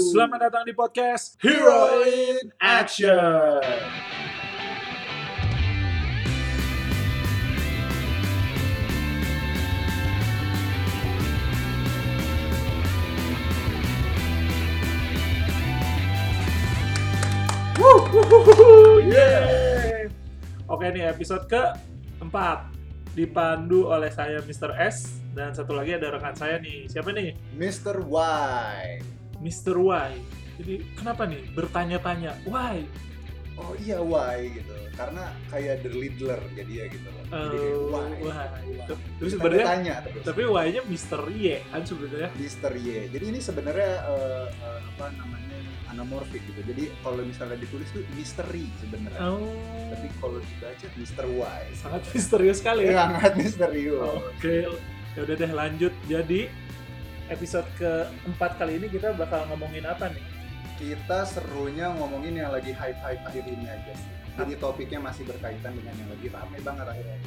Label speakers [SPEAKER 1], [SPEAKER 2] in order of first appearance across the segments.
[SPEAKER 1] Selamat datang di podcast Hero in Action. Wuh, wuh, wuh, wuh, yeay. Oke nih episode ke 4 dipandu oleh saya Mr. S dan satu lagi ada rekan saya nih. Siapa nih?
[SPEAKER 2] Mr. Why.
[SPEAKER 1] Mr. Why. Jadi kenapa nih bertanya-tanya why?
[SPEAKER 2] Oh iya why gitu. Karena kayak the leader jadi ya gitu loh. Jadi kayak
[SPEAKER 1] Eh,
[SPEAKER 2] why.
[SPEAKER 1] why. Tapi
[SPEAKER 2] Terus
[SPEAKER 1] sebenarnya
[SPEAKER 2] tanya terus.
[SPEAKER 1] tapi why-nya Mr. Y kan sebenarnya.
[SPEAKER 2] Mr. Y. Jadi ini sebenarnya eh, eh, apa namanya anamorfik gitu. Jadi kalau misalnya ditulis tuh misteri sebenarnya.
[SPEAKER 1] Oh,
[SPEAKER 2] Tapi kalau dibaca Mr. Y. Iya
[SPEAKER 1] sangat misterius sekali ya.
[SPEAKER 2] Sangat misterius.
[SPEAKER 1] Oke, ya udah deh lanjut. Jadi episode keempat kali ini kita bakal ngomongin apa nih?
[SPEAKER 2] Kita serunya ngomongin yang lagi hype-hype akhir ini aja sih. Jadi topiknya masih berkaitan dengan yang lagi rame banget akhirnya.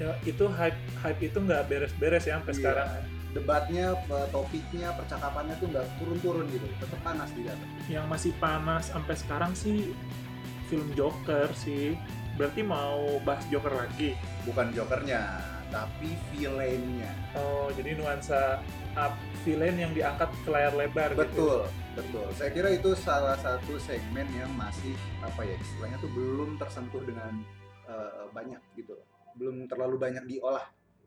[SPEAKER 1] Ya, itu hype hype itu nggak beres-beres ya sampai
[SPEAKER 2] Iya.
[SPEAKER 1] sekarang.
[SPEAKER 2] Debatnya, eh, topiknya, percakapannya tuh nggak turun-turun gitu. Tetap panas di dalam.
[SPEAKER 1] Yang masih panas sampai sekarang sih film Joker sih. Berarti mau bahas Joker lagi.
[SPEAKER 2] bukan jokernya tapi villainnya
[SPEAKER 1] Oh, jadi nuansa up villain yang diangkat ke layar lebar gitu.
[SPEAKER 2] betul betul saya kira itu salah satu segmen yang masih apa ya istilahnya tuh belum tersentuh dengan eh, banyak gitu loh belum terlalu banyak diolah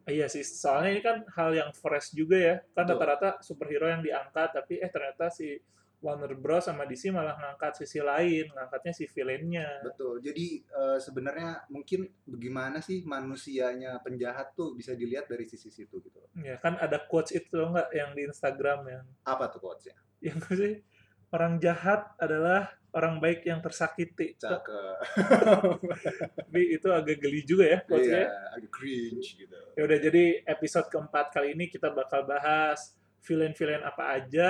[SPEAKER 1] Iya sih, soalnya ini kan hal yang fresh juga ya. Kan
[SPEAKER 2] Betul.
[SPEAKER 1] rata-rata superhero yang diangkat, tapi eh ternyata si Warner Bros sama DC malah ngangkat sisi lain, ngangkatnya si villainnya.
[SPEAKER 2] betul jadi eh, sebenarnya mungkin bagaimana sih manusianya penjahat tuh bisa dilihat dari sisi situ gitu loh.
[SPEAKER 1] Ya kan ada quotes itu enggak yang di Instagram yang
[SPEAKER 2] apa tuh quotesnya
[SPEAKER 1] yang apa sih orang jahat adalah orang baik yang tersakiti.
[SPEAKER 2] cakep
[SPEAKER 1] Tapi itu agak geli juga ya
[SPEAKER 2] iya
[SPEAKER 1] quotesnya.
[SPEAKER 2] agak cringe gitu
[SPEAKER 1] Ya udah jadi episode keempat kali ini kita bakal bahas villain-villain apa aja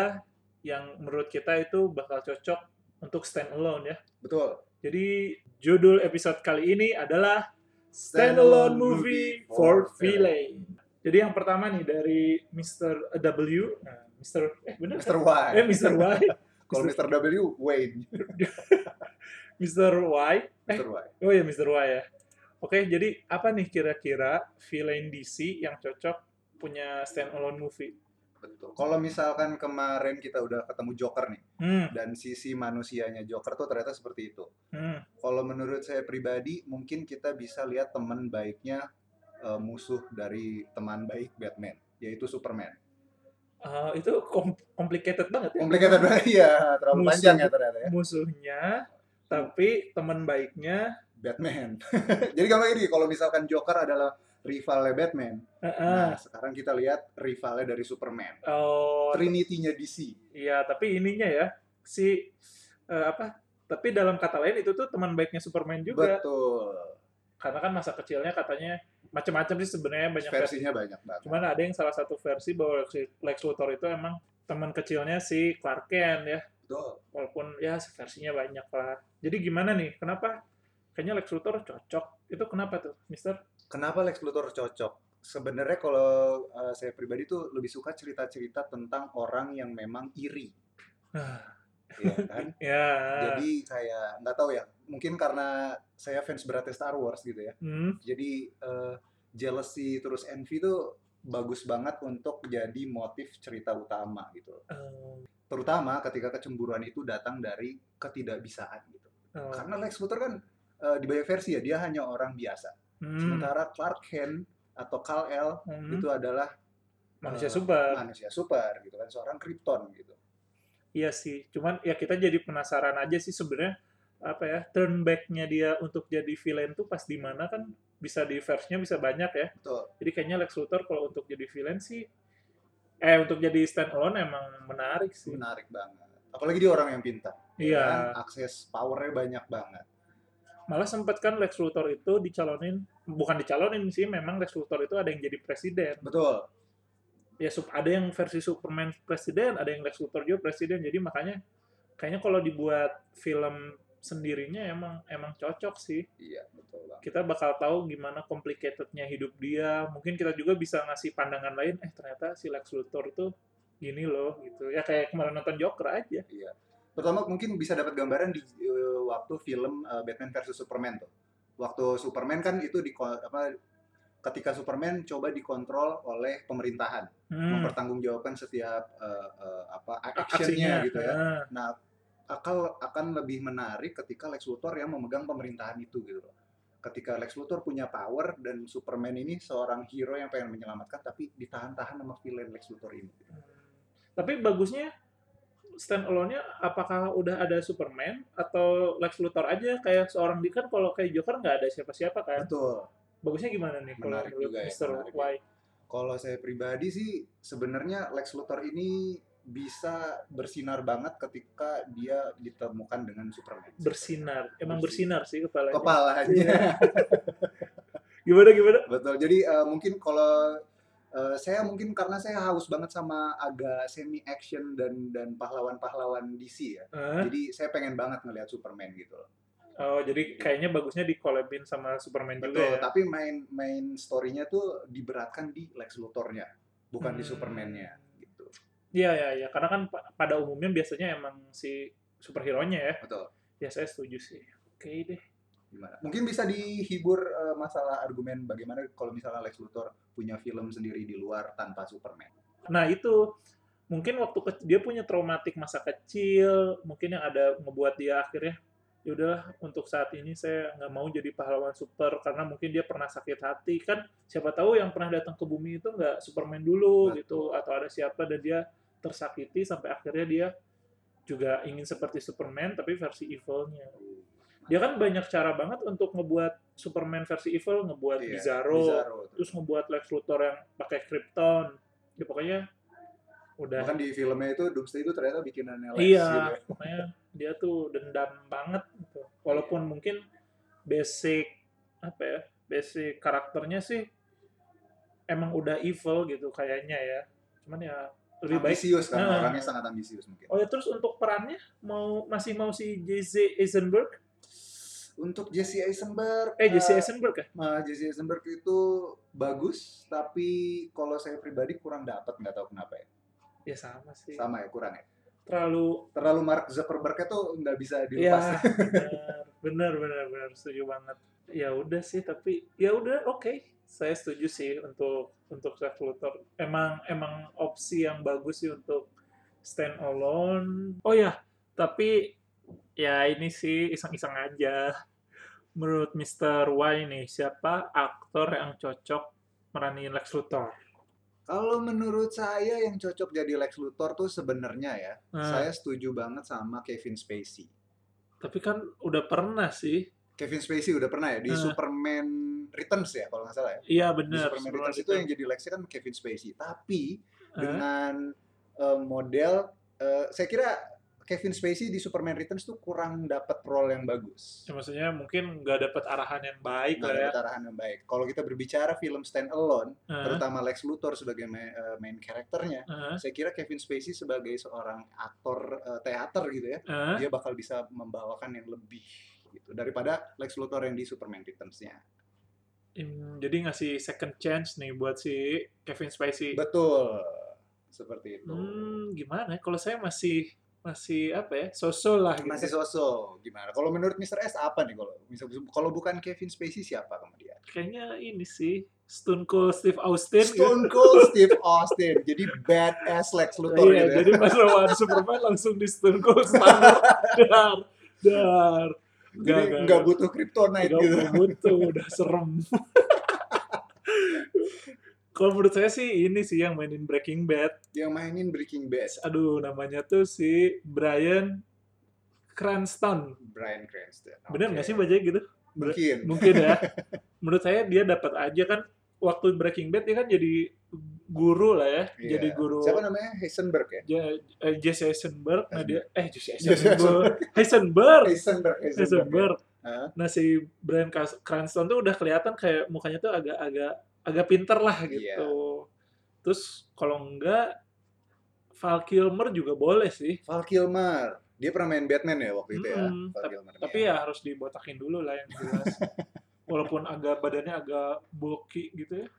[SPEAKER 1] yang menurut kita itu bakal cocok untuk stand alone ya.
[SPEAKER 2] betul
[SPEAKER 1] Jadi judul episode kali ini adalah Stand Alone Movie for Villain. Jadi yang pertama nih dari Mr. W, nah, Mr. eh bener
[SPEAKER 2] Mr. Y
[SPEAKER 1] eh Mr. Y,
[SPEAKER 2] kalau Mr. W Wayne
[SPEAKER 1] Mr. Y, eh
[SPEAKER 2] Mr. Y
[SPEAKER 1] oh ya Mr. Y ya. Oke, jadi apa nih kira-kira villain DC yang cocok punya stand alone movie?
[SPEAKER 2] betul kalau misalkan kemarin kita udah ketemu Joker nih
[SPEAKER 1] Hmm,
[SPEAKER 2] dan sisi manusianya Joker tuh ternyata seperti itu.
[SPEAKER 1] hmm.
[SPEAKER 2] Kalau menurut saya pribadi, mungkin kita bisa lihat teman baiknya eh, musuh dari teman baik Batman, yaitu Superman.
[SPEAKER 1] Ah, itu kom- complicated banget ya
[SPEAKER 2] Complicated banget ya, terlalu
[SPEAKER 1] Musuh.
[SPEAKER 2] panjang ya ternyata ya.
[SPEAKER 1] musuhnya tapi teman baiknya
[SPEAKER 2] Batman. Jadi gampang ini, kalau misalkan Joker adalah rivalnya Batman, nah
[SPEAKER 1] Heeh.
[SPEAKER 2] sekarang kita lihat rivalnya dari Superman.
[SPEAKER 1] oh
[SPEAKER 2] Trinity-nya DC.
[SPEAKER 1] iya tapi ininya ya si eh, apa tapi dalam kata lain itu tuh teman baiknya Superman juga
[SPEAKER 2] Betul.
[SPEAKER 1] karena kan masa kecilnya katanya macam-macam sih sebenarnya banyak versi
[SPEAKER 2] Versinya banyak banget.
[SPEAKER 1] cuman ada yang salah satu versi bahwa Lex- Lex Luthor itu emang teman kecilnya si Clark Kent ya
[SPEAKER 2] Betul.
[SPEAKER 1] walaupun ya versinya banyak lah jadi gimana nih kenapa kayaknya Lex Luthor cocok itu kenapa tuh Mister
[SPEAKER 2] Kenapa Lex Luthor cocok? Sebenarnya kalau uh, saya pribadi tuh lebih suka cerita-cerita tentang orang yang memang iri, ya kan?
[SPEAKER 1] ya
[SPEAKER 2] Jadi kayak nggak tahu ya, mungkin karena saya fans beratnya Star Wars gitu ya.
[SPEAKER 1] Hmm.
[SPEAKER 2] Jadi uh, jealousy terus envy tuh bagus banget untuk jadi motif cerita utama gitu.
[SPEAKER 1] Oh,
[SPEAKER 2] Terutama ketika kecemburuan itu datang dari ketidakbisaan gitu.
[SPEAKER 1] oh.
[SPEAKER 2] Karena Lex Luthor kan uh, di banyak versi ya dia hanya orang biasa.
[SPEAKER 1] Hmm,
[SPEAKER 2] Sementara Clark Kent atau Kal El
[SPEAKER 1] hmm.
[SPEAKER 2] itu adalah
[SPEAKER 1] manusia
[SPEAKER 2] eh,
[SPEAKER 1] super.
[SPEAKER 2] manusia super gitu kan seorang Krypton gitu
[SPEAKER 1] Iya sih. Cuman ya kita jadi penasaran aja sih sebenarnya apa ya turn back-nya dia untuk jadi villain tuh pas di mana kan bisa di verse-nya bisa banyak ya.
[SPEAKER 2] betul
[SPEAKER 1] Jadi kayaknya Lex Luthor kalau untuk jadi villain sih eh untuk jadi stand alone emang menarik sih.
[SPEAKER 2] menarik banget apalagi dia orang yang pintar ya
[SPEAKER 1] Iya.
[SPEAKER 2] kan? akses powernya banyak banget
[SPEAKER 1] Malah sempat kan Lex Luthor itu dicalonin bukan dicalonin sih memang Lex Luthor itu ada yang jadi presiden.
[SPEAKER 2] betul
[SPEAKER 1] ya sup- ada yang versi Superman presiden, ada yang Lex Luthor juga presiden. Jadi makanya kayaknya kalau dibuat film sendirinya emang emang cocok sih.
[SPEAKER 2] iya betul banget
[SPEAKER 1] Kita bakal tahu gimana complicatednya hidup dia. Mungkin kita juga bisa ngasih pandangan lain. Eh ternyata si Lex Luthor tuh gini loh gitu. Ya kayak kemarin nonton Joker aja.
[SPEAKER 2] iya Terutama mungkin bisa dapat gambaran di eh, waktu film eh, Batman versus Superman tuh. Waktu Superman kan itu di apa ketika Superman coba dikontrol oleh pemerintahan,
[SPEAKER 1] Hmm.
[SPEAKER 2] mempertanggungjawabkan setiap eh, eh, apa
[SPEAKER 1] Aksinya,
[SPEAKER 2] actionnya gitu ya.
[SPEAKER 1] ah.
[SPEAKER 2] Nah, akal akan lebih menarik ketika Lex Luthor yang memegang pemerintahan itu gitu loh. Ketika Lex Luthor punya power dan Superman ini seorang hero yang pengen menyelamatkan tapi ditahan-tahan sama villain Lex Luthor ini.
[SPEAKER 1] Tapi bagusnya stand alone-nya apakah udah ada Superman atau Lex Luthor aja kayak seorang di kan kalau kayak Joker nggak ada siapa-siapa kan.
[SPEAKER 2] Betul.
[SPEAKER 1] Bagusnya gimana nih kalau
[SPEAKER 2] Menarik juga ya,
[SPEAKER 1] Mister
[SPEAKER 2] menarik ya.
[SPEAKER 1] Why?
[SPEAKER 2] Kalau saya pribadi sih sebenarnya Lex Luthor ini bisa bersinar banget ketika dia ditemukan dengan Superman.
[SPEAKER 1] Bersinar. Emang
[SPEAKER 2] Bersinar.
[SPEAKER 1] bersinar sih kepalanya.
[SPEAKER 2] Kepalanya.
[SPEAKER 1] Gimana gimana?
[SPEAKER 2] Betul. Jadi eh, mungkin kalau eh, saya mungkin karena saya haus banget sama agak semi action dan dan pahlawan-pahlawan DC ya.
[SPEAKER 1] Hah?
[SPEAKER 2] Jadi saya pengen banget ngelihat Superman gitu loh.
[SPEAKER 1] Oh, jadi kayaknya bagusnya di collabin sama Superman juga
[SPEAKER 2] Betul,
[SPEAKER 1] ya.
[SPEAKER 2] tapi main main story-nya tuh diberatkan di Lex Luthor-nya, bukan di
[SPEAKER 1] Hmm.
[SPEAKER 2] Superman-nya gitu.
[SPEAKER 1] Iya, iya, iya. Karena kan pa- pada umumnya biasanya emang si superhero-nya ya.
[SPEAKER 2] Betul.
[SPEAKER 1] Ya saya setuju sih. Oke deh.
[SPEAKER 2] Gimana? Mungkin bisa dihibur eh, masalah argumen bagaimana kalau misalnya Lex Luthor punya film sendiri di luar tanpa Superman.
[SPEAKER 1] Nah itu mungkin waktu ke- dia punya traumatik masa kecil, mungkin yang ada ngebuat dia akhirnya ya udahlah untuk saat ini saya nggak mau jadi pahlawan super karena mungkin dia pernah sakit hati kan siapa tahu yang pernah datang ke bumi itu nggak Superman dulu
[SPEAKER 2] Betul.
[SPEAKER 1] gitu atau ada siapa dan dia tersakiti sampai akhirnya dia juga ingin seperti Superman tapi versi evilnya dia kan banyak cara banget untuk ngebuat Superman versi evil ngebuat
[SPEAKER 2] Iya,
[SPEAKER 1] Bizarro,
[SPEAKER 2] tuh.
[SPEAKER 1] terus ngebuat Lex Luthor yang pakai Krypton ya pokoknya udah
[SPEAKER 2] Bahkan di filmnya itu Doomsday itu ternyata bikinannya Lex
[SPEAKER 1] iya
[SPEAKER 2] gitu ya.
[SPEAKER 1] pokoknya dia tuh dendam banget gitu. walaupun mungkin basic apa ya basic karakternya sih emang udah evil gitu kayaknya ya cuman ya lebih baik
[SPEAKER 2] ambisius kan
[SPEAKER 1] Nah.
[SPEAKER 2] orangnya sangat ambisius mungkin.
[SPEAKER 1] oh ya terus untuk perannya mau masih mau si JC Eisenberg
[SPEAKER 2] Untuk Jesse Eisenberg,
[SPEAKER 1] eh JC
[SPEAKER 2] eh,
[SPEAKER 1] Eisenberg ya
[SPEAKER 2] Nah, Jesse Eisenberg itu bagus, tapi kalau saya pribadi kurang dapat nggak tahu kenapa ya.
[SPEAKER 1] ya sama sih
[SPEAKER 2] Sama ya kurang ya.
[SPEAKER 1] terlalu
[SPEAKER 2] Terlalu Mark Zuckerberg tuh nggak bisa
[SPEAKER 1] Iya,
[SPEAKER 2] dilepas. ya.
[SPEAKER 1] benar, benar, benar, setuju banget. Ya udah sih, tapi ya udah oke. Saya setuju sih untuk untuk Lex Luthor. Emang emang opsi yang bagus sih untuk stand alone. Oh ya, tapi ya ini sih iseng-iseng aja. Menurut Mr. Y nih, siapa aktor yang cocok meranin Lex Luthor?
[SPEAKER 2] Kalau menurut saya yang cocok jadi Lex Luthor tuh sebenarnya ya,
[SPEAKER 1] Hmm.
[SPEAKER 2] saya setuju banget sama Kevin Spacey.
[SPEAKER 1] Tapi kan udah pernah sih.
[SPEAKER 2] Kevin Spacey udah pernah ya di
[SPEAKER 1] Hmm.
[SPEAKER 2] Superman Returns ya kalau nggak salah ya.
[SPEAKER 1] Iya
[SPEAKER 2] Di
[SPEAKER 1] benar.
[SPEAKER 2] Superman
[SPEAKER 1] sebelum
[SPEAKER 2] Returns itu yang jadi Lexnya kan Kevin Spacey. Tapi
[SPEAKER 1] Hah?
[SPEAKER 2] dengan eh, model eh, saya kira Kevin Spacey di Superman Returns tuh kurang dapat role yang bagus.
[SPEAKER 1] Ya, maksudnya mungkin nggak dapat arahan yang baik
[SPEAKER 2] Nggak
[SPEAKER 1] lah ya.
[SPEAKER 2] dapat arahan yang baik. Kalau kita berbicara film stand alone,
[SPEAKER 1] Heeh.
[SPEAKER 2] terutama Lex Luthor sebagai ma- eh, main karakternya,
[SPEAKER 1] Heeh.
[SPEAKER 2] saya kira Kevin Spacey sebagai seorang aktor eh, teater gitu ya,
[SPEAKER 1] Heeh.
[SPEAKER 2] dia bakal bisa membawakan yang lebih gitu daripada Lex Luthor yang di Superman Returns-nya.
[SPEAKER 1] Hmm, jadi ngasih second chance nih buat si Kevin Spacey.
[SPEAKER 2] Betul. Seperti itu.
[SPEAKER 1] Hmm, gimana? ya? Kalau saya masih masih apa ya? Sosol lah gitu.
[SPEAKER 2] Masih sosok gimana? Kalau menurut Mr. S apa nih kalau misal- kalau bukan Kevin Spacey siapa kemudian?
[SPEAKER 1] Kayaknya ini sih Stone Cold Steve Austin. gitu.
[SPEAKER 2] Stone Cold Steve Austin. Jadi badass Lex Luthor
[SPEAKER 1] Iya,
[SPEAKER 2] gitu ya.
[SPEAKER 1] jadi pas lawan Superman langsung di Stone Cold standar. dar, dar.
[SPEAKER 2] Jadi
[SPEAKER 1] Nggak,
[SPEAKER 2] nggak
[SPEAKER 1] nggak.
[SPEAKER 2] butuh kryptonite
[SPEAKER 1] Gak
[SPEAKER 2] gitu.
[SPEAKER 1] butuh, udah serem. Kalau menurut saya sih ini sih yang mainin Breaking Bad.
[SPEAKER 2] Yang mainin Breaking Bad,
[SPEAKER 1] Aduh, namanya tuh si Brian Cranston.
[SPEAKER 2] Bryan Cranston.
[SPEAKER 1] Bener
[SPEAKER 2] Oke.
[SPEAKER 1] nggak sih bacanya gitu?
[SPEAKER 2] Mungkin.
[SPEAKER 1] Mungkin ya. Menurut saya dia dapat aja kan waktu Breaking Bad dia kan jadi guru lah ya,
[SPEAKER 2] Iya.
[SPEAKER 1] jadi guru
[SPEAKER 2] Siapa namanya? Heisenberg ya?
[SPEAKER 1] Ja- eh, Jesse Eisenberg. Nah dia eh Jesse
[SPEAKER 2] Jesse
[SPEAKER 1] Eisenberg. Heisenberg.
[SPEAKER 2] Heisenberg. ya. Heisenberg.
[SPEAKER 1] Heisenberg.
[SPEAKER 2] Hah?
[SPEAKER 1] Nah si Brian Cas- Cranston tuh udah kelihatan kayak mukanya tuh agak-agak agak pinter lah
[SPEAKER 2] Iya.
[SPEAKER 1] gitu. Terus kalau enggak Val Kilmer juga boleh sih.
[SPEAKER 2] Val Kilmer. Dia pernah main Batman ya waktu itu ya.
[SPEAKER 1] Mm-mm.
[SPEAKER 2] Val
[SPEAKER 1] Tap-
[SPEAKER 2] Kilmer.
[SPEAKER 1] tapi ya harus dibotakin dulu lah yang jelas walaupun agak badannya agak bulky gitu ya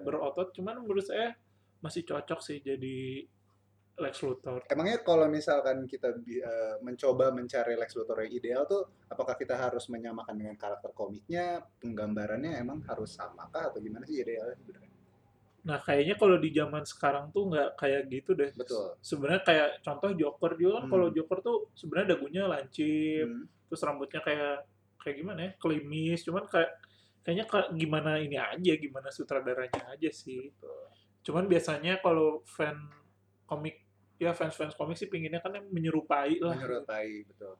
[SPEAKER 2] Iya.
[SPEAKER 1] berotot cuman menurut saya masih cocok sih jadi Lex Luthor.
[SPEAKER 2] Emangnya kalau misalkan kita bi- eh, mencoba mencari Lex Luthor yang ideal tuh, apakah kita harus menyamakan dengan karakter komiknya, penggambarannya emang harus samakah atau gimana sih idealnya sebenarnya?
[SPEAKER 1] Nah, kayaknya kalau di zaman sekarang tuh nggak kayak gitu deh.
[SPEAKER 2] Betul.
[SPEAKER 1] Sebenarnya kayak contoh Joker juga kan
[SPEAKER 2] Hmm.
[SPEAKER 1] kalau Joker tuh sebenarnya dagunya lancip,
[SPEAKER 2] Hmm.
[SPEAKER 1] terus rambutnya kayak kayak gimana ya? Klimis, cuman kayak kayaknya ka- gimana ini aja, gimana sutradaranya aja sih. Cuman biasanya kalau fan komik ya fans-fans komik sih pinginnya kan yang menyerupai lah.
[SPEAKER 2] Menurut Pai, betul.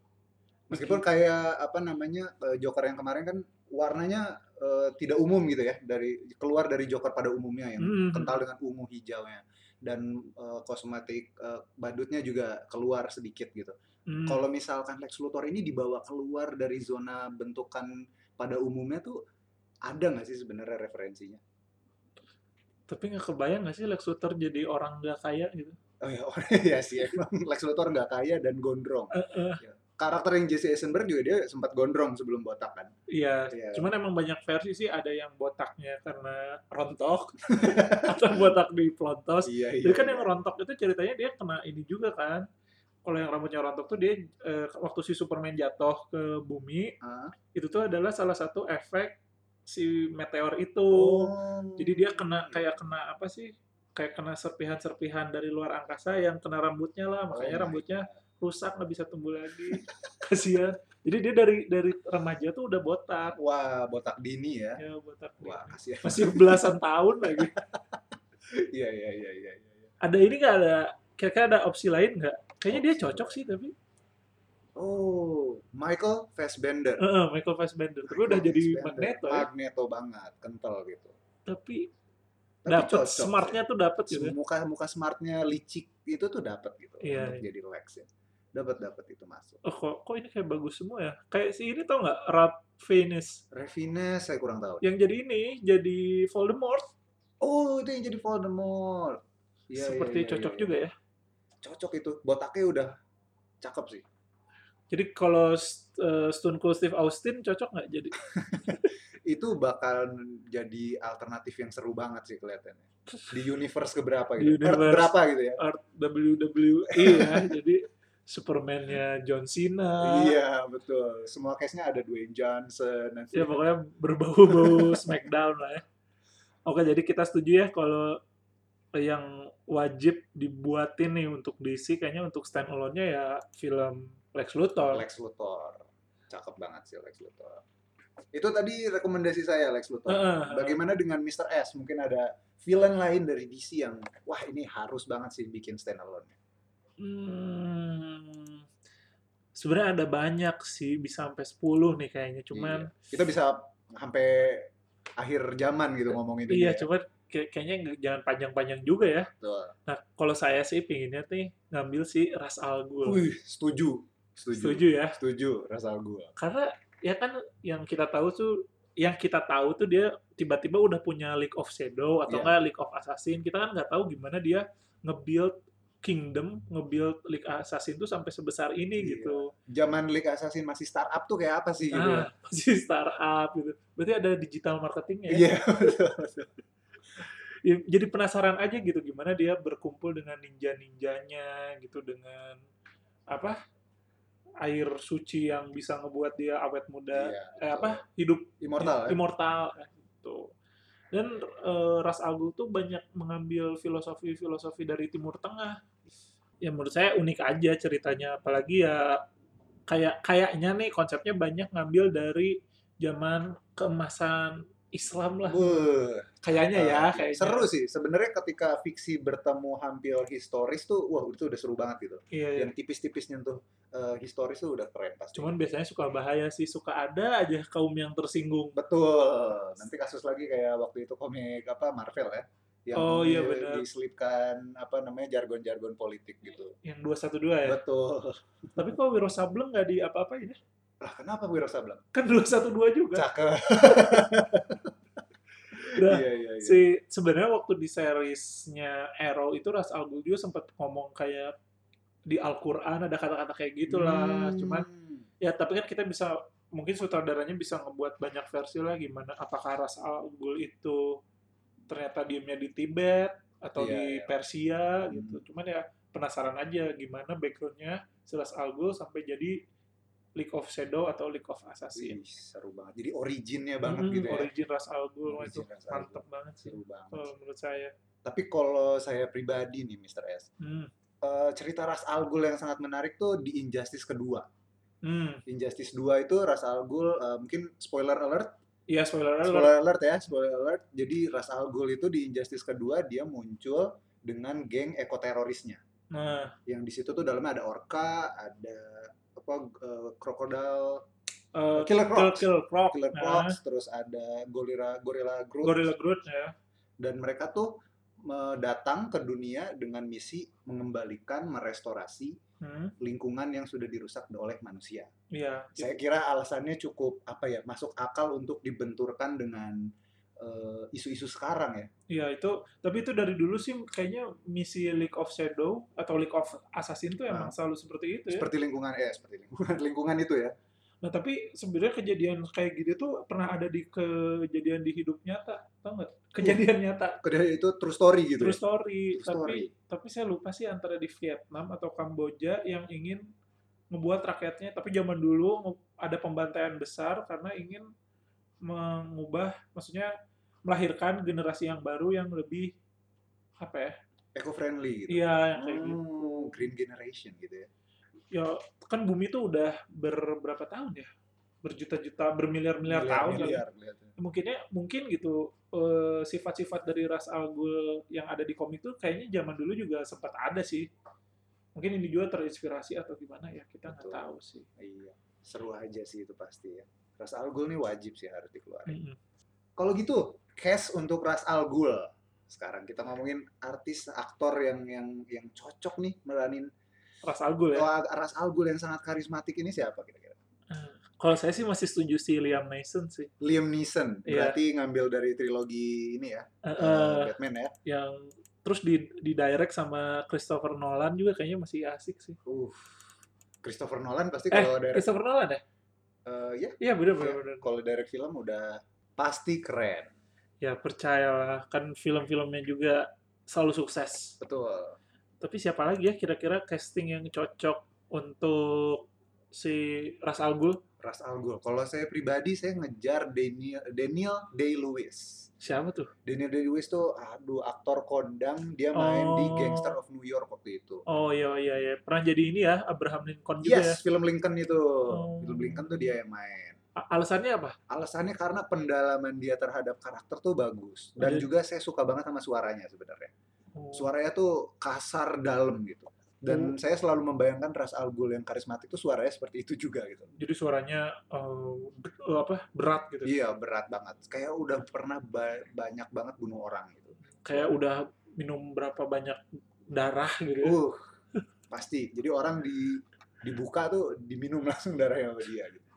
[SPEAKER 2] Meskipun kayak apa namanya eh, Joker yang kemarin kan warnanya eh, tidak umum gitu ya dari keluar dari Joker pada umumnya yang
[SPEAKER 1] Hmm.
[SPEAKER 2] kental dengan ungu hijaunya dan eh, kosmetik eh, badutnya juga keluar sedikit gitu.
[SPEAKER 1] Hmm.
[SPEAKER 2] Kalau misalkan Lex Luthor ini dibawa keluar dari zona bentukan pada umumnya tuh ada nggak sih sebenarnya referensinya?
[SPEAKER 1] Tapi nggak kebayang nggak sih Lex Luthor jadi orang nggak kaya gitu?
[SPEAKER 2] Oh ya, oh, ya sih emang Lex Luthor nggak kaya dan gondrong. Ya. Karakter yang Jesse Eisenberg juga dia sempat gondrong sebelum botak kan.
[SPEAKER 1] Iya.
[SPEAKER 2] Iya.
[SPEAKER 1] Cuman emang banyak versi sih ada yang botaknya karena rontok atau botak di plontos.
[SPEAKER 2] Iya
[SPEAKER 1] Jadi kan yang rontok itu ceritanya dia kena ini juga kan. Kalau yang rambutnya rontok tuh dia eh, waktu si Superman jatuh ke bumi
[SPEAKER 2] Ah.
[SPEAKER 1] itu tuh adalah salah satu efek si meteor itu. Oh,
[SPEAKER 2] Oh.
[SPEAKER 1] Jadi dia kena kayak kena apa sih? Kayak kena serpihan-serpihan dari luar angkasa yang kena rambutnya lah,
[SPEAKER 2] Oh
[SPEAKER 1] makanya
[SPEAKER 2] my
[SPEAKER 1] rambutnya rusak nggak bisa tumbuh lagi. Kasihan. Jadi dia dari dari remaja tuh udah botak.
[SPEAKER 2] wah botak dini ya.
[SPEAKER 1] Ya botak. dia.
[SPEAKER 2] Wah kasihan.
[SPEAKER 1] Masih belasan tahun lagi.
[SPEAKER 2] Iya iya iya iya. iya.
[SPEAKER 1] Ada ini nggak ada kira-kira ada opsi lain nggak? Kayaknya dia cocok sih tapi
[SPEAKER 2] Oh, Michael Fassbender.
[SPEAKER 1] Eh, eh, Michael Fassbender. Tapi udah jadi
[SPEAKER 2] Fassbender.
[SPEAKER 1] magneto ya.
[SPEAKER 2] Magneto banget, kental gitu.
[SPEAKER 1] Tapi
[SPEAKER 2] Tapi
[SPEAKER 1] dapat
[SPEAKER 2] cocok sih.
[SPEAKER 1] smartnya tuh dapat gitu. ya.
[SPEAKER 2] muka muka smartnya licik itu tuh dapat gitu
[SPEAKER 1] Iya,
[SPEAKER 2] untuk
[SPEAKER 1] iya.
[SPEAKER 2] jadi Lex ya dapat dapat itu masuk
[SPEAKER 1] Oh, kok, kok ini kayak bagus semua ya? Kayak si ini tau nggak? Rap Venus
[SPEAKER 2] Revines saya kurang tahu
[SPEAKER 1] yang jadi ini jadi Voldemort
[SPEAKER 2] oh itu yang jadi Voldemort Iya, iya,
[SPEAKER 1] seperti
[SPEAKER 2] iya,
[SPEAKER 1] cocok
[SPEAKER 2] iya,
[SPEAKER 1] juga ya.
[SPEAKER 2] iya. cocok itu botaknya udah cakep sih
[SPEAKER 1] Jadi kalau st- eh, Stone Cold Steve Austin cocok nggak jadi?
[SPEAKER 2] itu bakal jadi alternatif yang seru banget sih kelihatannya di universe keberapa gitu
[SPEAKER 1] Di
[SPEAKER 2] Earth
[SPEAKER 1] universe.
[SPEAKER 2] berapa gitu ya
[SPEAKER 1] Art WWE ya. Jadi Supermannya John Cena.
[SPEAKER 2] iya betul semua case nya ada Dwayne Johnson nanti
[SPEAKER 1] Ya pokoknya berbau-bau Smackdown lah ya. Oke jadi kita setuju ya kalau yang wajib dibuatin nih untuk DC kayaknya untuk stand alone-nya ya film Lex Luthor.
[SPEAKER 2] Lex Luthor cakep banget sih Lex Luthor itu tadi rekomendasi saya Lex Luthor
[SPEAKER 1] Heeh.
[SPEAKER 2] Bagaimana dengan Mr. S? Mungkin ada villain lain dari DC yang wah ini harus banget sih bikin standalone.
[SPEAKER 1] Hmm, sebenarnya ada banyak sih bisa sampai 10 nih kayaknya cuman
[SPEAKER 2] Kita bisa sampai akhir zaman gitu ngomongin ini.
[SPEAKER 1] iya
[SPEAKER 2] ya.
[SPEAKER 1] cuman kayak- kayaknya nggak- jangan panjang-panjang juga ya.
[SPEAKER 2] Betul.
[SPEAKER 1] Nah, kalau saya sih pinginnya nih ngambil si Ras Al Ghul.
[SPEAKER 2] Wih, setuju. Setuju.
[SPEAKER 1] Setuju ya?
[SPEAKER 2] Setuju, Ras Al Ghul.
[SPEAKER 1] karena ya kan yang kita tahu tuh yang kita tahu tuh dia tiba-tiba udah punya League of Shadow atau
[SPEAKER 2] Iya.
[SPEAKER 1] enggak League of Assassin kita kan nggak tahu gimana dia nge-build kingdom nge-build League Assassin tuh sampai sebesar ini
[SPEAKER 2] Iya.
[SPEAKER 1] gitu
[SPEAKER 2] Zaman League Assassin masih startup tuh kayak apa sih gitu ya?
[SPEAKER 1] ah masih startup gitu berarti ada digital marketingnya ya.
[SPEAKER 2] Iya.
[SPEAKER 1] Ya, jadi penasaran aja gitu gimana dia berkumpul dengan ninja ninjanya gitu dengan apa air suci yang bisa ngebuat dia awet muda
[SPEAKER 2] Iya,
[SPEAKER 1] eh, apa
[SPEAKER 2] betul.
[SPEAKER 1] hidup
[SPEAKER 2] Immortal ya?
[SPEAKER 1] immortal gitu. Dan eh, Ras Al Ghul tuh banyak mengambil filosofi-filosofi dari Timur Tengah. Ya menurut saya unik aja ceritanya, apalagi ya kayak kayaknya nih konsepnya banyak ngambil dari zaman keemasan Islam lah.
[SPEAKER 2] Beuh.
[SPEAKER 1] Kayaknya ya,
[SPEAKER 2] Ah,
[SPEAKER 1] kayaknya.
[SPEAKER 2] Seru sih. Sebenarnya ketika fiksi bertemu hampir historis tuh, wah itu udah seru banget gitu.
[SPEAKER 1] Iya, iya.
[SPEAKER 2] Yang tipis-tipis nyentuh eh, historis tuh udah keren pasti.
[SPEAKER 1] Cuman biasanya suka bahaya sih, suka ada aja kaum yang tersinggung.
[SPEAKER 2] Betul. Nanti kasus lagi kayak waktu itu komik apa Marvel ya. Yang
[SPEAKER 1] Oh,
[SPEAKER 2] di-
[SPEAKER 1] iya, benar.
[SPEAKER 2] diselipkan apa namanya jargon-jargon politik gitu.
[SPEAKER 1] Yang 212 ya.
[SPEAKER 2] Betul.
[SPEAKER 1] Tapi kok Wiro Sableng nggak di apa-apa ya?
[SPEAKER 2] Lah kenapa Wiro Sableng?
[SPEAKER 1] Kan 212 juga.
[SPEAKER 2] Cakep.
[SPEAKER 1] Nah,
[SPEAKER 2] Iya iya iya.
[SPEAKER 1] si sebenarnya waktu di seriesnya Arrow itu Ras Al Ghul juga sempat ngomong kayak di Al-Qur'an ada kata-kata kayak
[SPEAKER 2] Hmm.
[SPEAKER 1] gitulah cuman ya tapi kan kita bisa mungkin sutradaranya bisa ngebuat banyak versi lah gimana apakah Ras Al Ghul itu ternyata diemnya di Tibet atau
[SPEAKER 2] Iya,
[SPEAKER 1] di
[SPEAKER 2] iya.
[SPEAKER 1] Persia
[SPEAKER 2] Hmm.
[SPEAKER 1] gitu cuman ya penasaran aja gimana backgroundnya Silas Al Ghul sampai jadi League of Shadow atau League of
[SPEAKER 2] Ih,
[SPEAKER 1] Assassin.
[SPEAKER 2] seru banget. Jadi originnya banget
[SPEAKER 1] Hmm,
[SPEAKER 2] gitu ya.
[SPEAKER 1] Origin Ras Al Ghul wah, itu
[SPEAKER 2] Origin Ra's al Ghul.
[SPEAKER 1] mantep Oh. banget sih
[SPEAKER 2] Seru banget.
[SPEAKER 1] kalau menurut saya.
[SPEAKER 2] Tapi kalau saya pribadi nih Mr. S,
[SPEAKER 1] Hmm.
[SPEAKER 2] eh, cerita Ras Al Ghul yang sangat menarik tuh di Injustice kedua.
[SPEAKER 1] Hmm.
[SPEAKER 2] Injustice 2 itu Ras Al Ghul eh, mungkin spoiler alert,
[SPEAKER 1] Iya spoiler alert.
[SPEAKER 2] spoiler alert ya, spoiler alert. Jadi Ras Al Ghul itu di Injustice kedua dia muncul dengan geng ekoterorisnya.
[SPEAKER 1] Nah,
[SPEAKER 2] Yang di situ tuh dalamnya ada orca, ada apa eh, krokodil,
[SPEAKER 1] eh,
[SPEAKER 2] Killer Crocs.
[SPEAKER 1] Killer Croc.
[SPEAKER 2] killer
[SPEAKER 1] Nah,
[SPEAKER 2] crocs, terus ada gorilla gorilla Groot.
[SPEAKER 1] Gorilla Groot ya.
[SPEAKER 2] dan mereka tuh eh, datang ke dunia dengan misi mengembalikan merestorasi
[SPEAKER 1] Hmm.
[SPEAKER 2] lingkungan yang sudah dirusak oleh manusia.
[SPEAKER 1] Iya.
[SPEAKER 2] Saya kira alasannya cukup apa ya masuk akal untuk dibenturkan dengan eh, isu-isu sekarang ya.
[SPEAKER 1] Iya itu, tapi itu dari dulu sih kayaknya misi League of Shadow atau League of Assassin tuh
[SPEAKER 2] Ah.
[SPEAKER 1] emang selalu seperti itu ya.
[SPEAKER 2] Seperti lingkungan eh seperti lingkungan lingkungan itu ya.
[SPEAKER 1] Nah tapi sebenarnya kejadian kayak gitu tuh pernah ada di kejadian di hidup nyata, tau nggak? Kejadian nyata,
[SPEAKER 2] Kedai itu true story gitu. ya.
[SPEAKER 1] true story.
[SPEAKER 2] True story.
[SPEAKER 1] Tapi tapi saya lupa sih antara di Vietnam atau Kamboja yang ingin membuat rakyatnya, tapi zaman dulu nge- ada pembantaian besar karena ingin mengubah, maksudnya melahirkan generasi yang baru yang lebih apa ya?
[SPEAKER 2] Eco friendly gitu.
[SPEAKER 1] Iya yang kayak gitu.
[SPEAKER 2] Oh, green generation gitu ya.
[SPEAKER 1] ya kan bumi itu udah berberapa tahun ya berjuta-juta bermiliar-miliar tahun kali.
[SPEAKER 2] Miliar, miliar.
[SPEAKER 1] mungkinnya mungkin gitu eh, sifat-sifat dari ras al Ghul yang ada di komik tuh kayaknya zaman dulu juga sempat ada sih mungkin ini juga terinspirasi atau gimana ya kita nggak
[SPEAKER 2] Betul.
[SPEAKER 1] tahu sih
[SPEAKER 2] Iya. Seru aja sih itu pasti ya. Ras Al Ghul nih wajib sih harus dikeluarin.
[SPEAKER 1] Mm-mm.
[SPEAKER 2] Kalau gitu, cast untuk Ras Al Ghul. Sekarang kita ngomongin artis, aktor yang yang yang cocok nih meranin
[SPEAKER 1] ras al Ghul ya
[SPEAKER 2] Kalau Ras Al Ghul yang sangat karismatik ini siapa kira-kira?
[SPEAKER 1] kalau saya sih masih setuju si Liam Neeson sih
[SPEAKER 2] Liam Neeson.
[SPEAKER 1] Iya.
[SPEAKER 2] Berarti ngambil dari trilogi ini ya,
[SPEAKER 1] Eh,
[SPEAKER 2] eh,
[SPEAKER 1] eh,
[SPEAKER 2] Batman ya.
[SPEAKER 1] yang terus di di direct sama Christopher Nolan juga kayaknya masih asik sih
[SPEAKER 2] Uh. Christopher Nolan pasti
[SPEAKER 1] eh
[SPEAKER 2] kalau direct
[SPEAKER 1] Christopher Nolan ya
[SPEAKER 2] eh, ya,
[SPEAKER 1] iya bener
[SPEAKER 2] ya,
[SPEAKER 1] bener, bener.
[SPEAKER 2] kalau direct film udah pasti keren.
[SPEAKER 1] ya percayalah kan film-filmnya juga selalu sukses
[SPEAKER 2] Betul.
[SPEAKER 1] tapi siapa lagi ya kira-kira casting yang cocok untuk si Ras Al Ghul
[SPEAKER 2] Ras Al Ghul. Kalau saya pribadi saya ngejar Daniel Daniel Day-Lewis.
[SPEAKER 1] siapa tuh
[SPEAKER 2] Daniel Day-Lewis tuh aduh aktor kondang, dia main di
[SPEAKER 1] Oh.
[SPEAKER 2] Gangster of New York waktu itu.
[SPEAKER 1] oh iya iya iya pernah jadi ini ya Abraham Lincoln juga ya
[SPEAKER 2] Yes, film Lincoln itu.
[SPEAKER 1] Oh.
[SPEAKER 2] Film Lincoln tuh dia yang main.
[SPEAKER 1] A- alasannya apa
[SPEAKER 2] Alasannya karena pendalaman dia terhadap karakter tuh bagus dan
[SPEAKER 1] Jadi-
[SPEAKER 2] juga saya suka banget sama suaranya sebenarnya.
[SPEAKER 1] Oh,
[SPEAKER 2] Suaranya tuh kasar dalam gitu.
[SPEAKER 1] Hmm.
[SPEAKER 2] Dan saya selalu membayangkan Ras Al Ghul yang karismatik tuh suaranya seperti itu juga gitu.
[SPEAKER 1] jadi suaranya eh, ber- eh, apa berat gitu
[SPEAKER 2] Iya, berat banget. Kayak udah pernah ba- banyak banget bunuh orang gitu.
[SPEAKER 1] kayak udah minum berapa banyak darah gitu ya.
[SPEAKER 2] Uh, pasti. Jadi orang di dibuka tuh diminum langsung darahnya sama dia gitu.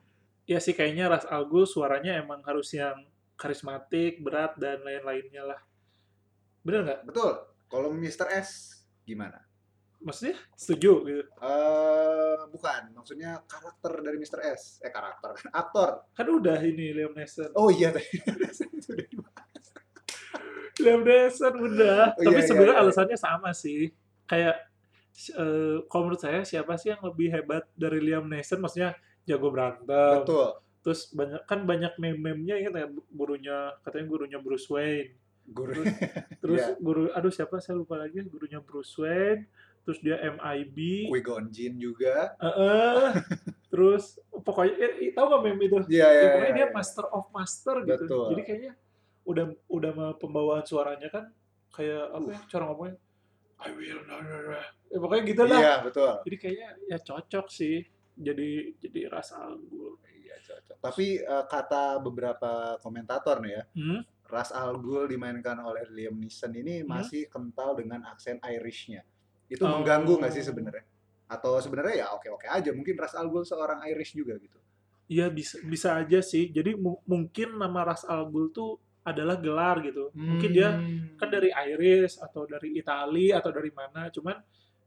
[SPEAKER 1] ya sih kayaknya Ras Al Ghul suaranya emang harus yang karismatik berat dan lain-lainnya lah bener nggak
[SPEAKER 2] Betul. Kalau Mr. S gimana?
[SPEAKER 1] maksudnya setuju gitu
[SPEAKER 2] Eh, bukan. Maksudnya karakter dari Mr. S. Eh karakter, aktor.
[SPEAKER 1] kan udah ini Liam Neeson
[SPEAKER 2] Oh iya tadi. Sudah dibahas.
[SPEAKER 1] Liam Neeson udah
[SPEAKER 2] Oh,
[SPEAKER 1] tapi
[SPEAKER 2] iya, iya,
[SPEAKER 1] sebenarnya
[SPEAKER 2] iya.
[SPEAKER 1] alasannya sama sih kayak eh, kalau menurut saya siapa sih yang lebih hebat dari Liam Neeson maksudnya jago berantem
[SPEAKER 2] Betul.
[SPEAKER 1] terus banyak kan banyak meme-memenya ingat ya gurunya katanya gurunya Bruce Wayne
[SPEAKER 2] Guru.
[SPEAKER 1] terus
[SPEAKER 2] Iya.
[SPEAKER 1] guru aduh siapa saya lupa lagi gurunya Bruce Wayne terus dia MIB
[SPEAKER 2] Qui Gon Jinn juga.
[SPEAKER 1] eh, eh. terus pokoknya eh, eh, tahu nggak meme itu
[SPEAKER 2] Iya iya.
[SPEAKER 1] ya, pokoknya
[SPEAKER 2] iya,
[SPEAKER 1] dia
[SPEAKER 2] iya.
[SPEAKER 1] master of master gitu.
[SPEAKER 2] Betul.
[SPEAKER 1] Jadi kayaknya udah udah mah pembawaan suaranya kan kayak
[SPEAKER 2] Uh.
[SPEAKER 1] apa ya cara ngomongnya I will not. Ya, pokoknya gitu lah.
[SPEAKER 2] Iya betul.
[SPEAKER 1] Jadi kayaknya ya cocok sih. Jadi jadi ras al Ghul.
[SPEAKER 2] Iya cocok. Tapi eh, kata beberapa komentator nih ya,
[SPEAKER 1] Hmm?
[SPEAKER 2] Ras Al Ghul dimainkan oleh Liam Neeson ini
[SPEAKER 1] Hmm.
[SPEAKER 2] masih kental dengan aksen Irishnya. Itu
[SPEAKER 1] Oh.
[SPEAKER 2] mengganggu nggak sih sebenarnya? Atau sebenarnya ya oke-oke aja. Mungkin Ras Al Ghul seorang Irish juga gitu.
[SPEAKER 1] Iya bisa bisa aja sih. Jadi mu- mungkin nama ras al Ghul tuh adalah gelar gitu. Mungkin dia
[SPEAKER 2] Hmm.
[SPEAKER 1] kan dari Iris atau dari Itali atau dari mana. Cuman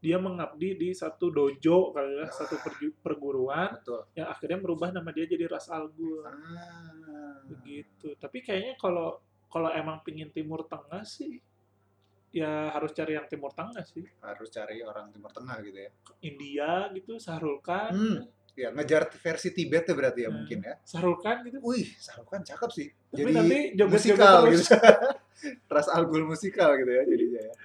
[SPEAKER 1] dia mengabdi di satu dojo kali ya, satu perju- perguruan
[SPEAKER 2] betul.
[SPEAKER 1] yang akhirnya merubah nama dia jadi Ras Al Ghul
[SPEAKER 2] Ah.
[SPEAKER 1] begitu. Tapi kayaknya kalau kalau emang pingin Timur Tengah sih ya harus cari yang Timur Tengah sih.
[SPEAKER 2] harus cari orang timur tengah gitu ya
[SPEAKER 1] India gitu, Sahrul Khan.
[SPEAKER 2] Hmm. ya ngejar versi Tibet ya berarti ya
[SPEAKER 1] Hmm.
[SPEAKER 2] mungkin ya
[SPEAKER 1] Sahrul Khan gitu.
[SPEAKER 2] wih Sarukan cakep sih
[SPEAKER 1] Tapi
[SPEAKER 2] jadi
[SPEAKER 1] nanti joget-joget
[SPEAKER 2] musikal
[SPEAKER 1] terus.
[SPEAKER 2] gitu ras al ghul musikal gitu ya jadinya ya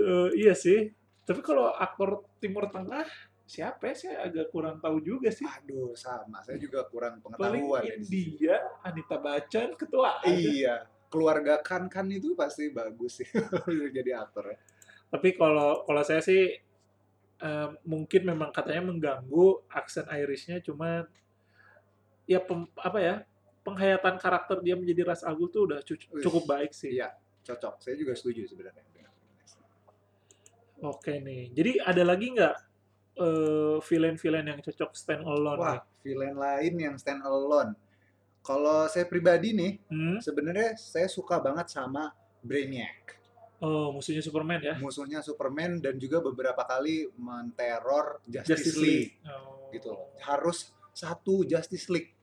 [SPEAKER 1] Eh, iya sih. Tapi kalau aktor Timur Tengah siapa ya? Saya agak kurang tahu juga sih.
[SPEAKER 2] aduh sama saya juga kurang
[SPEAKER 1] Paling
[SPEAKER 2] pengetahuan ya di situ.
[SPEAKER 1] India, Anita Bacan, ketua.
[SPEAKER 2] Iya, keluarga kan kan itu pasti bagus sih jadi aktor ya.
[SPEAKER 1] Tapi kalau kalau saya sih eh, mungkin memang katanya mengganggu aksen Irishnya, cuma ya pem- apa ya penghayatan karakter dia menjadi ras Agul tuh udah cu-
[SPEAKER 2] Wih.
[SPEAKER 1] cukup baik sih.
[SPEAKER 2] Iya. Cocok. Saya juga setuju sebenarnya.
[SPEAKER 1] Oke nih. Jadi ada lagi nggak eh, villain-villain yang cocok stand alone?
[SPEAKER 2] Wah, villain lain yang stand alone. Kalau saya pribadi nih,
[SPEAKER 1] Hmm?
[SPEAKER 2] sebenarnya saya suka banget sama Brainiac.
[SPEAKER 1] Oh, musuhnya Superman
[SPEAKER 2] Eh.
[SPEAKER 1] ya?
[SPEAKER 2] Musuhnya Superman dan juga beberapa kali menteror Justice,
[SPEAKER 1] Justice
[SPEAKER 2] League
[SPEAKER 1] League. Oh.
[SPEAKER 2] gitu loh. Harus satu Justice League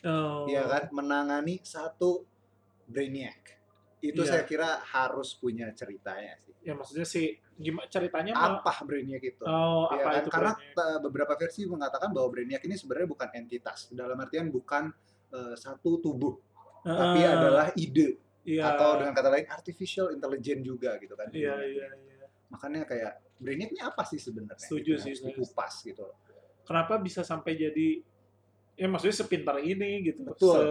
[SPEAKER 1] Oh.
[SPEAKER 2] Iya kan menangani satu Brainiac. Itu
[SPEAKER 1] Iya.
[SPEAKER 2] saya kira harus punya ceritanya sih.
[SPEAKER 1] Ya maksudnya sih gimana ceritanya mah-
[SPEAKER 2] Apa Brainiac itu?
[SPEAKER 1] Oh,
[SPEAKER 2] Iya
[SPEAKER 1] apa
[SPEAKER 2] kan?
[SPEAKER 1] itu
[SPEAKER 2] Karena
[SPEAKER 1] Brainiac?
[SPEAKER 2] eh, beberapa versi mengatakan bahwa Brainiac ini sebenarnya bukan entitas, dalam artian bukan eh, satu tubuh, tapi
[SPEAKER 1] Ah,
[SPEAKER 2] adalah ide
[SPEAKER 1] iya.
[SPEAKER 2] atau dengan kata lain artificial intelligence juga gitu kan.
[SPEAKER 1] Iya, iya, iya.
[SPEAKER 2] Makanya kayak Brainiac ini apa sih sebenarnya?
[SPEAKER 1] Setuju
[SPEAKER 2] Gitu,
[SPEAKER 1] sih,
[SPEAKER 2] harus
[SPEAKER 1] saya.
[SPEAKER 2] dikupas gitu loh.
[SPEAKER 1] Kenapa bisa sampai jadi ya maksudnya sepintar ini gitu.
[SPEAKER 2] Betul.
[SPEAKER 1] Se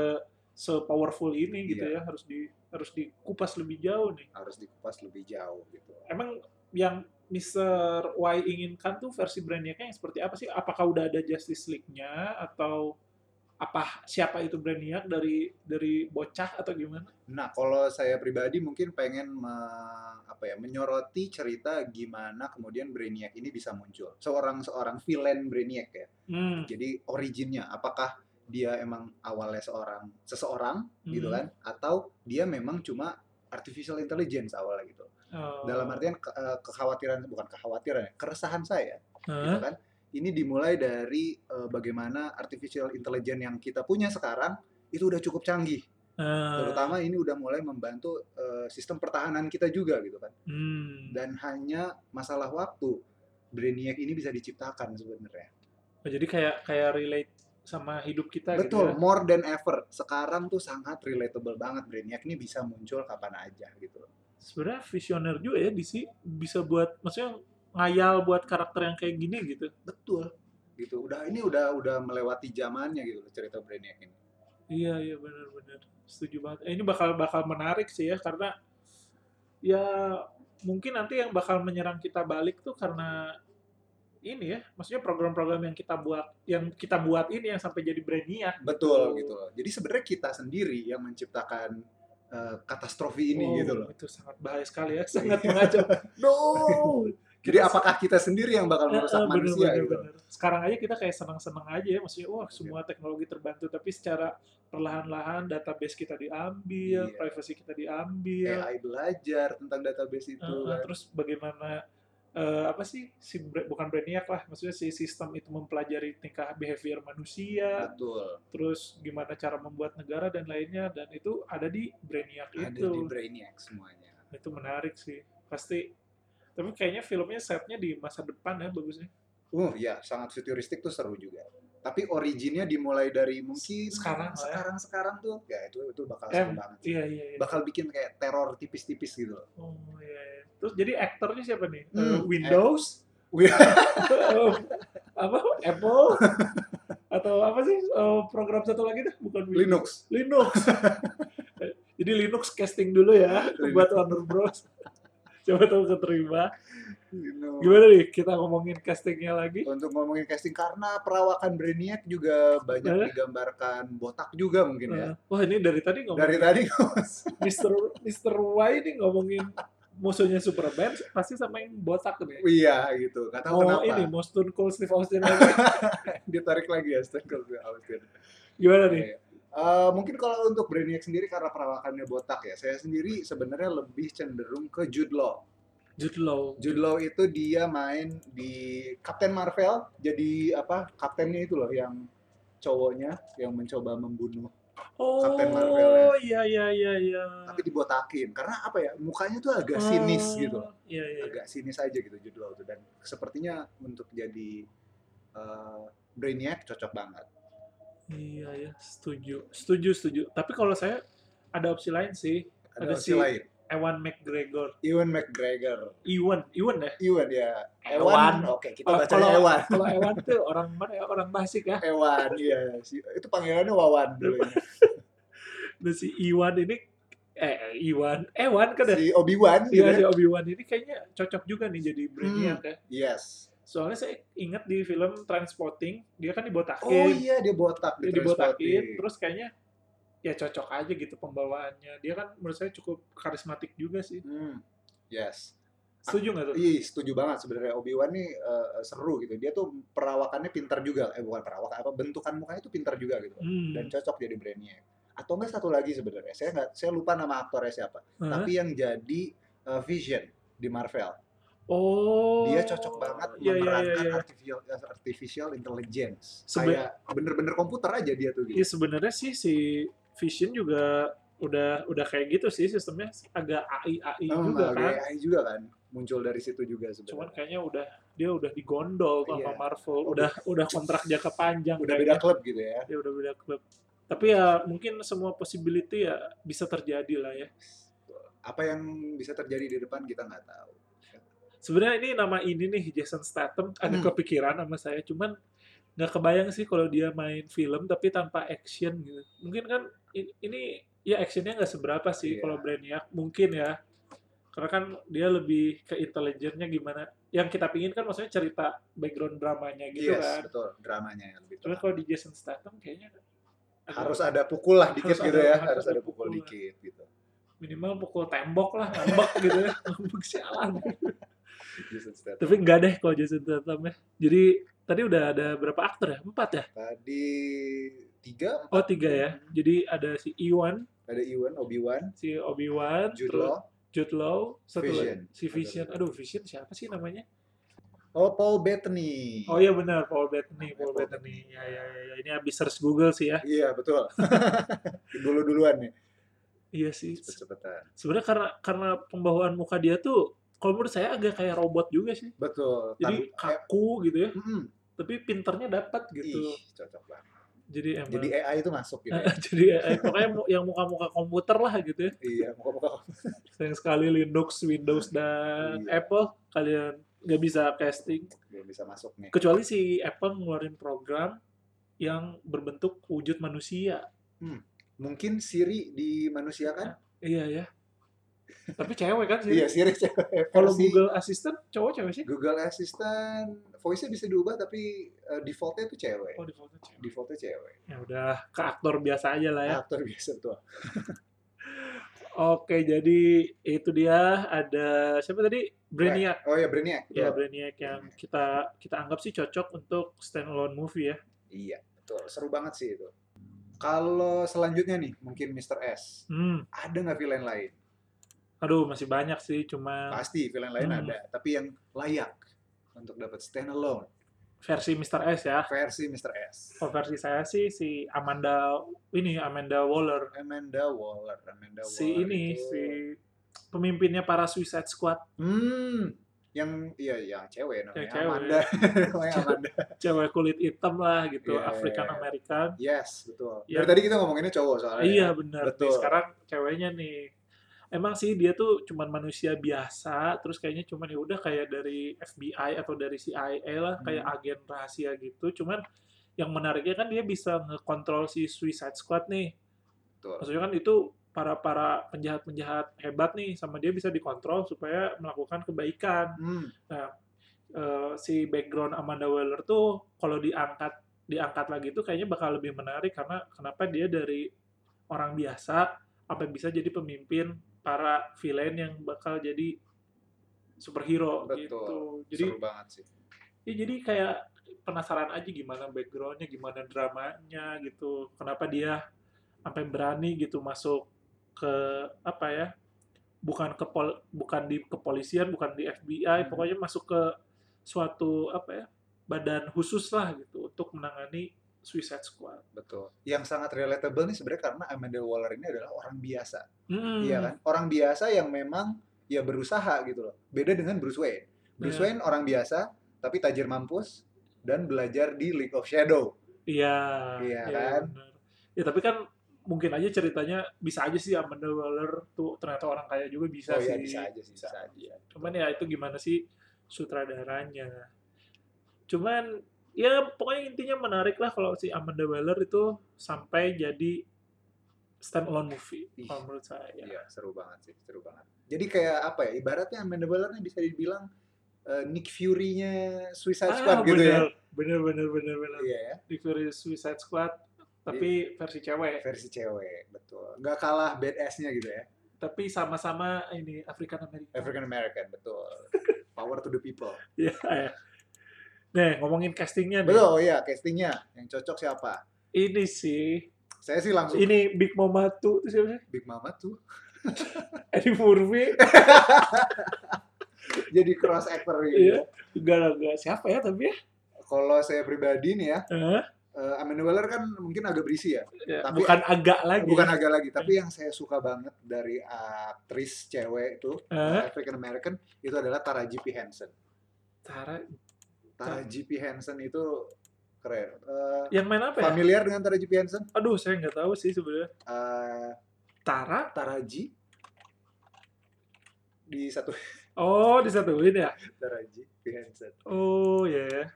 [SPEAKER 1] powerful ini gitu
[SPEAKER 2] Iya.
[SPEAKER 1] ya harus di harus dikupas lebih jauh nih.
[SPEAKER 2] Harus dikupas lebih jauh gitu.
[SPEAKER 1] Emang yang Mr. Y inginkan tuh versi Brainiac-nya yang seperti apa sih? Apakah udah ada Justice League-nya atau apa siapa itu Brainiac dari dari bocah atau gimana?
[SPEAKER 2] Nah, kalau saya pribadi mungkin pengen me- apa ya menyoroti cerita gimana kemudian Brainiac ini bisa muncul. Seorang seorang villain Brainiac ya.
[SPEAKER 1] Hmm.
[SPEAKER 2] Jadi originnya apakah dia emang awalnya seorang seseorang gitu
[SPEAKER 1] Mhm.
[SPEAKER 2] kan atau dia memang cuma artificial intelligence awalnya gitu.
[SPEAKER 1] Oh.
[SPEAKER 2] Dalam artian ke- eh, kekhawatiran bukan kekhawatiran ya, keresahan saya
[SPEAKER 1] Oh. Hah?
[SPEAKER 2] gitu kan. Ini dimulai dari eh, bagaimana artificial intelligence yang kita punya sekarang itu udah cukup canggih
[SPEAKER 1] Ah,
[SPEAKER 2] terutama ini udah mulai membantu eh, sistem pertahanan kita juga gitu kan
[SPEAKER 1] hmm.
[SPEAKER 2] dan hanya masalah waktu Brainiac ini bisa diciptakan sebenarnya
[SPEAKER 1] Oh, jadi kayak kayak relate sama hidup kita
[SPEAKER 2] betul
[SPEAKER 1] gitu ya.
[SPEAKER 2] more than ever sekarang tuh sangat relatable banget Brainiac ini bisa muncul kapan aja gitu
[SPEAKER 1] Sebenarnya visioner juga ya DC bisa buat maksudnya ngayal buat karakter yang kayak gini gitu.
[SPEAKER 2] betul gitu udah ini udah udah melewati zamannya gitu loh cerita Brainiac ini
[SPEAKER 1] Iya iya benar-benar setuju banget. Eh, ini bakal bakal menarik sih ya karena ya mungkin nanti yang bakal menyerang kita balik tuh karena ini ya, maksudnya program-program yang kita buat yang kita buat ini yang sampai jadi Brainiac
[SPEAKER 2] betul gitu loh jadi sebenarnya kita sendiri yang menciptakan eh, katastrofi ini
[SPEAKER 1] Oh,
[SPEAKER 2] gitu loh Iya.
[SPEAKER 1] Itu sangat bahaya sekali ya, sangat mengacau.
[SPEAKER 2] no jadi
[SPEAKER 1] Kita-
[SPEAKER 2] apakah kita sendiri yang bakal
[SPEAKER 1] Eh,
[SPEAKER 2] merusak
[SPEAKER 1] eh, bener,
[SPEAKER 2] manusia gitu
[SPEAKER 1] bener,
[SPEAKER 2] Iya. loh.
[SPEAKER 1] bener. Sekarang aja kita kayak senang-senang aja ya, maksudnya wah semua teknologi terbantu, tapi secara perlahan-lahan database kita diambil,
[SPEAKER 2] Iya.
[SPEAKER 1] privasi kita diambil,
[SPEAKER 2] AI belajar tentang database itu
[SPEAKER 1] Eh,
[SPEAKER 2] kan.
[SPEAKER 1] terus bagaimana eh, apa sih si Bra- bukan Brainiac lah, maksudnya si sistem itu mempelajari tingkah behavior manusia,
[SPEAKER 2] betul
[SPEAKER 1] terus gimana cara membuat negara dan lainnya, dan itu ada di Brainiac
[SPEAKER 2] ada
[SPEAKER 1] itu.
[SPEAKER 2] di Brainiac semuanya
[SPEAKER 1] Itu menarik sih, pasti. Tapi kayaknya filmnya setnya di masa depan ya bagusnya.
[SPEAKER 2] uh ya sangat futuristik tuh seru juga tapi originnya dimulai dari mungkin
[SPEAKER 1] Sekarang lah ya.
[SPEAKER 2] sekarang sekarang tuh ya itu itu bakal
[SPEAKER 1] Em,
[SPEAKER 2] seru banget
[SPEAKER 1] Iya iya. iya.
[SPEAKER 2] bakal bikin kayak teror tipis-tipis gitu loh.
[SPEAKER 1] Oh iya. iya. Terus jadi aktornya siapa nih? Eh,
[SPEAKER 2] Hmm,
[SPEAKER 1] Windows?
[SPEAKER 2] Wi-
[SPEAKER 1] Eh, apa? Apple? Atau apa sih eh, program satu lagi tuh? Bukan Windows.
[SPEAKER 2] Linux
[SPEAKER 1] Linux. Eh, jadi Linux casting dulu ya
[SPEAKER 2] Linux.
[SPEAKER 1] buat Warner Bros. Coba tahu keterima.
[SPEAKER 2] Linux.
[SPEAKER 1] Gimana nih kita ngomongin castingnya lagi?
[SPEAKER 2] Gitu. untuk ngomongin casting karena perawakan Brainiac juga
[SPEAKER 1] Ada.
[SPEAKER 2] banyak digambarkan botak juga mungkin ya
[SPEAKER 1] Eh, Wah ini dari tadi ngomongin
[SPEAKER 2] dari tadi
[SPEAKER 1] Mister Mister Y ini ngomongin musuhnya Superman pasti sama yang botak nih.
[SPEAKER 2] iya gitu nggak tahu
[SPEAKER 1] Mau
[SPEAKER 2] kenapa
[SPEAKER 1] Oh, ini mau Stone Cold Steve Austin lagi.
[SPEAKER 2] ditarik lagi ya Stone Cold Steve Austin
[SPEAKER 1] Gimana nih?
[SPEAKER 2] Eh, mungkin kalau untuk Brainiac sendiri karena perawakannya botak ya, saya sendiri sebenarnya lebih cenderung ke Jude Law.
[SPEAKER 1] Jude Law.
[SPEAKER 2] Jude Law itu dia main di Captain Marvel, jadi apa kaptennya itu loh yang cowoknya yang mencoba membunuh Captain Marvel ya.
[SPEAKER 1] Oh, iya iya iya iya.
[SPEAKER 2] tapi dibotakin karena apa ya mukanya tuh agak sinis
[SPEAKER 1] Ah,
[SPEAKER 2] gitu
[SPEAKER 1] Iya iya.
[SPEAKER 2] agak sinis aja gitu judul itu dan sepertinya untuk jadi eh, Brainiac cocok banget
[SPEAKER 1] Iya iya, setuju. Setuju setuju. Tapi kalau saya ada opsi lain sih.
[SPEAKER 2] ada,
[SPEAKER 1] Ada
[SPEAKER 2] opsi
[SPEAKER 1] si-
[SPEAKER 2] lain
[SPEAKER 1] Ewan McGregor.
[SPEAKER 2] Ewan McGregor
[SPEAKER 1] Ewan, Ewan ya.
[SPEAKER 2] Ewan ya
[SPEAKER 1] Ewan.
[SPEAKER 2] Ewan oke kita
[SPEAKER 1] Oh,
[SPEAKER 2] baca
[SPEAKER 1] kalau-
[SPEAKER 2] Ewan
[SPEAKER 1] Kalau Ewan tuh orang mana ya? Orang Basik ya.
[SPEAKER 2] Ewan iya si- itu panggilannya Wawan dulu ya.
[SPEAKER 1] Dan Nah, si Iwan ini eh Iwan, Ewan kan ya.
[SPEAKER 2] si Obi Wan
[SPEAKER 1] Iya, si
[SPEAKER 2] gitu
[SPEAKER 1] Obi Wan ini kayaknya cocok juga nih jadi Brainiac
[SPEAKER 2] Hmm.
[SPEAKER 1] ya.
[SPEAKER 2] yes
[SPEAKER 1] Soalnya saya ingat di film Transporting, dia kan dibotakin.
[SPEAKER 2] oh iya dia botak di
[SPEAKER 1] dia dibotakin
[SPEAKER 2] Transporting.
[SPEAKER 1] terus kayaknya ya cocok aja gitu pembawaannya dia kan menurut saya cukup karismatik juga sih
[SPEAKER 2] Hmm, yes
[SPEAKER 1] setuju nggak tuh
[SPEAKER 2] Iya, setuju banget sebenarnya Obi Wan nih eh, seru gitu. Dia tuh perawakannya pintar juga, eh bukan perawakan apa bentukan mukanya tuh pintar juga gitu
[SPEAKER 1] Hmm.
[SPEAKER 2] dan cocok jadi Brainiac. Atau enggak satu lagi sebenarnya, saya nggak saya lupa nama aktornya siapa,
[SPEAKER 1] Hah?
[SPEAKER 2] tapi yang jadi eh, Vision di Marvel,
[SPEAKER 1] oh
[SPEAKER 2] dia cocok banget
[SPEAKER 1] Iya, iya,
[SPEAKER 2] memerankan
[SPEAKER 1] iya, iya.
[SPEAKER 2] artificial artificial intelligence.
[SPEAKER 1] Seben-
[SPEAKER 2] Kayak bener-bener komputer aja dia tuh gitu.
[SPEAKER 1] Iya, sebenarnya sih si Vision juga udah udah kayak gitu sih sistemnya agak AI AI
[SPEAKER 2] Oh,
[SPEAKER 1] juga kan
[SPEAKER 2] agak AI juga kan, muncul dari situ juga
[SPEAKER 1] cuman
[SPEAKER 2] sebenarnya.
[SPEAKER 1] kayaknya udah dia udah digondol tuh sama
[SPEAKER 2] Iya.
[SPEAKER 1] Marvel udah udah kontrak jangka panjang
[SPEAKER 2] Udah beda
[SPEAKER 1] kayaknya.
[SPEAKER 2] klub gitu ya.
[SPEAKER 1] Dia udah beda klub tapi ya mungkin semua possibility ya bisa terjadi lah ya
[SPEAKER 2] Apa yang bisa terjadi di depan kita nggak tahu.
[SPEAKER 1] sebenarnya ini nama ini nih Jason Statham ada
[SPEAKER 2] Hmm.
[SPEAKER 1] kepikiran sama saya cuman nggak kebayang sih kalau dia main film tapi tanpa action gitu mungkin kan i- ini ya actionnya nggak seberapa
[SPEAKER 2] Iya.
[SPEAKER 1] sih kalau Brainiac mungkin ya karena kan dia lebih ke intelijennya gimana yang kita pingin kan maksudnya cerita background dramanya gitu
[SPEAKER 2] yes,
[SPEAKER 1] kan
[SPEAKER 2] betul dramanya yang lebih
[SPEAKER 1] cuman
[SPEAKER 2] terang.
[SPEAKER 1] kalau di Jason Statham kayaknya agak
[SPEAKER 2] harus ada pukul lah dikit
[SPEAKER 1] Harus
[SPEAKER 2] gitu
[SPEAKER 1] ada-
[SPEAKER 2] ya
[SPEAKER 1] harus
[SPEAKER 2] harus
[SPEAKER 1] ada
[SPEAKER 2] ada pukul
[SPEAKER 1] pukul.
[SPEAKER 2] dikit gitu
[SPEAKER 1] minimal pukul tembok lah tembok gitu ya tembok sialan
[SPEAKER 2] Jason Statham
[SPEAKER 1] tapi nggak deh kalau Jason Statham ya jadi tadi udah ada berapa aktor ya empat ya
[SPEAKER 2] tadi tiga
[SPEAKER 1] Oh tiga ya. Jadi ada si Iwan,
[SPEAKER 2] ada Iwan Obi Wan
[SPEAKER 1] si Obi Wan,
[SPEAKER 2] Jude
[SPEAKER 1] terus
[SPEAKER 2] Law
[SPEAKER 1] Jude Law, satu
[SPEAKER 2] Vision.
[SPEAKER 1] lagi si Vision. Aduh Vision siapa sih namanya?
[SPEAKER 2] oh Paul Bettany
[SPEAKER 1] Oh iya benar Paul Bettany, Paul
[SPEAKER 2] Paul
[SPEAKER 1] Bettany. Ya ya ya. ya. Ini habis search Google sih ya.
[SPEAKER 2] iya betul ya. dulu duluan nih
[SPEAKER 1] Iya sih.
[SPEAKER 2] cepet cepetan
[SPEAKER 1] Sebenarnya karena karena pembawaan muka dia tuh, kalau menurut saya agak kayak robot juga sih.
[SPEAKER 2] betul Tan-
[SPEAKER 1] Jadi
[SPEAKER 2] eh,
[SPEAKER 1] kaku gitu ya,
[SPEAKER 2] mm-mm.
[SPEAKER 1] tapi pinternya dapat gitu.
[SPEAKER 2] Ih, cocok banget
[SPEAKER 1] Jadi emang.
[SPEAKER 2] jadi
[SPEAKER 1] Jadi,
[SPEAKER 2] AI itu masuk gitu ya.
[SPEAKER 1] eh, pokoknya mu- yang muka-muka komputer lah gitu ya.
[SPEAKER 2] iya muka-muka
[SPEAKER 1] Sayang sekali Linux, Windows, dan
[SPEAKER 2] Iya.
[SPEAKER 1] Apple kalian nggak bisa casting.
[SPEAKER 2] belum bisa masuk nih
[SPEAKER 1] Kecuali si Apple ngeluarin program yang berbentuk wujud manusia.
[SPEAKER 2] mungkin Siri di manusia kan
[SPEAKER 1] Iya ya. Tapi cewek kan sih.
[SPEAKER 2] iya Siri cewek.
[SPEAKER 1] Kalau
[SPEAKER 2] Versi
[SPEAKER 1] Google Assistant cowok cewek sih?
[SPEAKER 2] Google Assistant voice-nya bisa diubah tapi eh, defaultnya itu cewek
[SPEAKER 1] Oh, defaultnya cewek.
[SPEAKER 2] defaultnya cewek
[SPEAKER 1] Ya udah, ke aktor biasa aja lah ya.
[SPEAKER 2] aktor biasa tuh
[SPEAKER 1] Oke, jadi itu dia ada siapa tadi? Brainiac.
[SPEAKER 2] oh ya Brainiac betul.
[SPEAKER 1] Ya, Brainiac yang kita kita anggap sih cocok untuk standalone movie ya.
[SPEAKER 2] iya betul seru banget sih itu kalau selanjutnya nih mungkin Mr. S
[SPEAKER 1] Hmm.
[SPEAKER 2] ada nggak villain lain
[SPEAKER 1] Aduh, masih banyak sih cuma
[SPEAKER 2] pasti villain lain
[SPEAKER 1] Hmm.
[SPEAKER 2] ada tapi yang layak untuk dapat standalone
[SPEAKER 1] versi Mr. S ya.
[SPEAKER 2] versi Mr. S
[SPEAKER 1] Kalau versi saya sih si Amanda ini Amanda Waller
[SPEAKER 2] Amanda Waller Amanda
[SPEAKER 1] si
[SPEAKER 2] Waller
[SPEAKER 1] ini
[SPEAKER 2] itu-
[SPEAKER 1] si pemimpinnya para Suicide Squad
[SPEAKER 2] hmm yang iya yang cewek namanya
[SPEAKER 1] cewek.
[SPEAKER 2] Amanda namanya Amanda
[SPEAKER 1] cewek kulit hitam lah gitu
[SPEAKER 2] Iya,
[SPEAKER 1] African
[SPEAKER 2] iya, iya.
[SPEAKER 1] American
[SPEAKER 2] yes betul
[SPEAKER 1] Iya.
[SPEAKER 2] dari tadi kita ngomonginnya cowok soalnya
[SPEAKER 1] iya benar
[SPEAKER 2] Betul.
[SPEAKER 1] nih sekarang ceweknya nih emang sih dia tuh cuman manusia biasa terus kayaknya cuman ya udah kayak dari FBI atau dari CIA lah kayak
[SPEAKER 2] Hmm.
[SPEAKER 1] agen rahasia gitu cuman yang menariknya kan dia bisa ngekontrol si Suicide Squad nih
[SPEAKER 2] betul
[SPEAKER 1] maksudnya kan itu para para penjahat penjahat hebat nih sama dia bisa dikontrol supaya melakukan kebaikan
[SPEAKER 2] hmm.
[SPEAKER 1] eh, si background Amanda Waller tuh kalau diangkat diangkat lagi tuh kayaknya bakal lebih menarik karena kenapa dia dari orang biasa apa bisa jadi pemimpin para villain yang bakal jadi superhero
[SPEAKER 2] Betul.
[SPEAKER 1] gitu. Jadi
[SPEAKER 2] seru banget sih
[SPEAKER 1] ya jadi kayak penasaran aja gimana backgroundnya, gimana dramanya gitu. Kenapa dia sampai berani gitu masuk ke apa ya? Bukan ke pol- bukan di kepolisian, bukan di
[SPEAKER 2] Hmm.
[SPEAKER 1] FBI, pokoknya masuk ke suatu apa ya? badan khusus lah gitu untuk menangani Suicide Squad.
[SPEAKER 3] betul
[SPEAKER 2] yang sangat relatable nih sebenarnya karena Amanda Waller ini adalah orang biasa
[SPEAKER 1] Hmm.
[SPEAKER 2] iya kan orang biasa yang memang ya berusaha gitu loh beda dengan Bruce Wayne Bruce
[SPEAKER 1] Iya.
[SPEAKER 2] Wayne orang biasa tapi tajir mampus dan belajar di League of Shadow
[SPEAKER 1] Iya.
[SPEAKER 2] Iya kan?
[SPEAKER 1] benar. Ya tapi kan mungkin aja ceritanya bisa aja sih Amanda Waller tuh ternyata orang kaya juga bisa
[SPEAKER 2] oh
[SPEAKER 1] sih.
[SPEAKER 2] iya bisa aja sih bisa aja
[SPEAKER 1] Cuman ya itu gimana sih sutradaranya. Cuman ya pokoknya intinya menarik lah kalau si Amanda Waller itu sampai jadi stand alone movie
[SPEAKER 2] Ih.
[SPEAKER 1] kalau menurut saya.
[SPEAKER 2] Iya, seru banget sih, seru banget. Jadi kayak apa ya? Ibaratnya Amanda Waller nih bisa dibilang eh, Nick Fury-nya Suicide Squad gitu
[SPEAKER 1] Ah, bener,
[SPEAKER 2] ya.
[SPEAKER 1] bener, bener, bener, bener.
[SPEAKER 2] Iya ya,
[SPEAKER 1] Nick Fury Suicide Squad, tapi versi cewek.
[SPEAKER 2] versi cewek, betul. Nggak kalah badass-nya gitu ya.
[SPEAKER 1] Tapi sama-sama ini African American.
[SPEAKER 2] African American, betul. Power to the people.
[SPEAKER 1] Iya. ya. Nih, ngomongin castingnya nih.
[SPEAKER 2] Betul, oh iya, castingnya yang cocok siapa?
[SPEAKER 1] Ini sih,
[SPEAKER 2] Saya sih langsung
[SPEAKER 1] ini Big Mama tuh itu siapa sih?
[SPEAKER 2] Big Mama tuh
[SPEAKER 1] Eddie Murphy.
[SPEAKER 2] jadi cross actor gitu.
[SPEAKER 1] Iya. Gara-gara siapa ya tapi ya?
[SPEAKER 2] Kalau saya pribadi nih ya,
[SPEAKER 1] Hah?
[SPEAKER 2] eh, Amanda Waller kan mungkin agak berisi ya.
[SPEAKER 1] Ya,
[SPEAKER 2] Tapi-
[SPEAKER 1] bukan agak lagi.
[SPEAKER 2] Bukan agak lagi, tapi yang saya suka banget dari aktris cewek itu
[SPEAKER 1] Hah?
[SPEAKER 2] African American itu adalah Taraji P Henson.
[SPEAKER 1] Tara,
[SPEAKER 2] Taraji P Henson itu keren. Eh,
[SPEAKER 1] yang main apa ya?
[SPEAKER 2] familiar dengan Taraji P Henson?
[SPEAKER 1] Aduh, saya nggak tahu sih sebenarnya.
[SPEAKER 2] Eh,
[SPEAKER 1] Tara?
[SPEAKER 2] Taraji di satu
[SPEAKER 1] Oh, disatuin ya?
[SPEAKER 2] Taraji P Henson.
[SPEAKER 1] Oh, ya.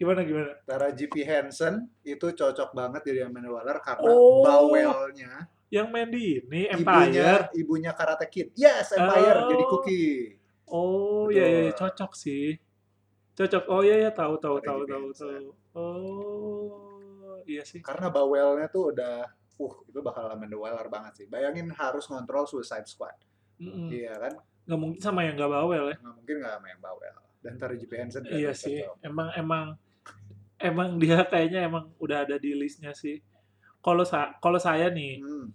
[SPEAKER 1] Gimana gimana?
[SPEAKER 2] Taraji P Henson itu cocok banget jadi Amanda Waller karena
[SPEAKER 1] Oh.
[SPEAKER 2] bawelnya
[SPEAKER 1] Yang main di ini
[SPEAKER 2] ibunya
[SPEAKER 1] Empire.
[SPEAKER 2] ibunya Karate Kid. Yes, Empire
[SPEAKER 1] Oh.
[SPEAKER 2] jadi Cookie.
[SPEAKER 1] Oh,
[SPEAKER 2] Betul.
[SPEAKER 1] ya, ya, ya, cocok sih. Cocok. Oh, iya ya, tahu tahu
[SPEAKER 2] Ada
[SPEAKER 1] tahu
[SPEAKER 2] juga
[SPEAKER 1] tahu
[SPEAKER 2] yang
[SPEAKER 1] tahu. Oh, iya sih.
[SPEAKER 2] Karena bawelnya tuh udah uh itu bakal Amanda Waller banget sih. Bayangin harus ngontrol Suicide Squad.
[SPEAKER 1] Mm-mm.
[SPEAKER 2] Iya kan?
[SPEAKER 1] Nggak mungkin sama yang nggak bawel ya.
[SPEAKER 2] nggak mungkin nggak sama yang bawel dan Taraji P Henson kan
[SPEAKER 1] Iya
[SPEAKER 2] bisa
[SPEAKER 1] sih,
[SPEAKER 2] jawab.
[SPEAKER 1] emang emang emang dia kayaknya emang udah ada di listnya sih. Kalau sa kalau saya nih
[SPEAKER 2] hmm,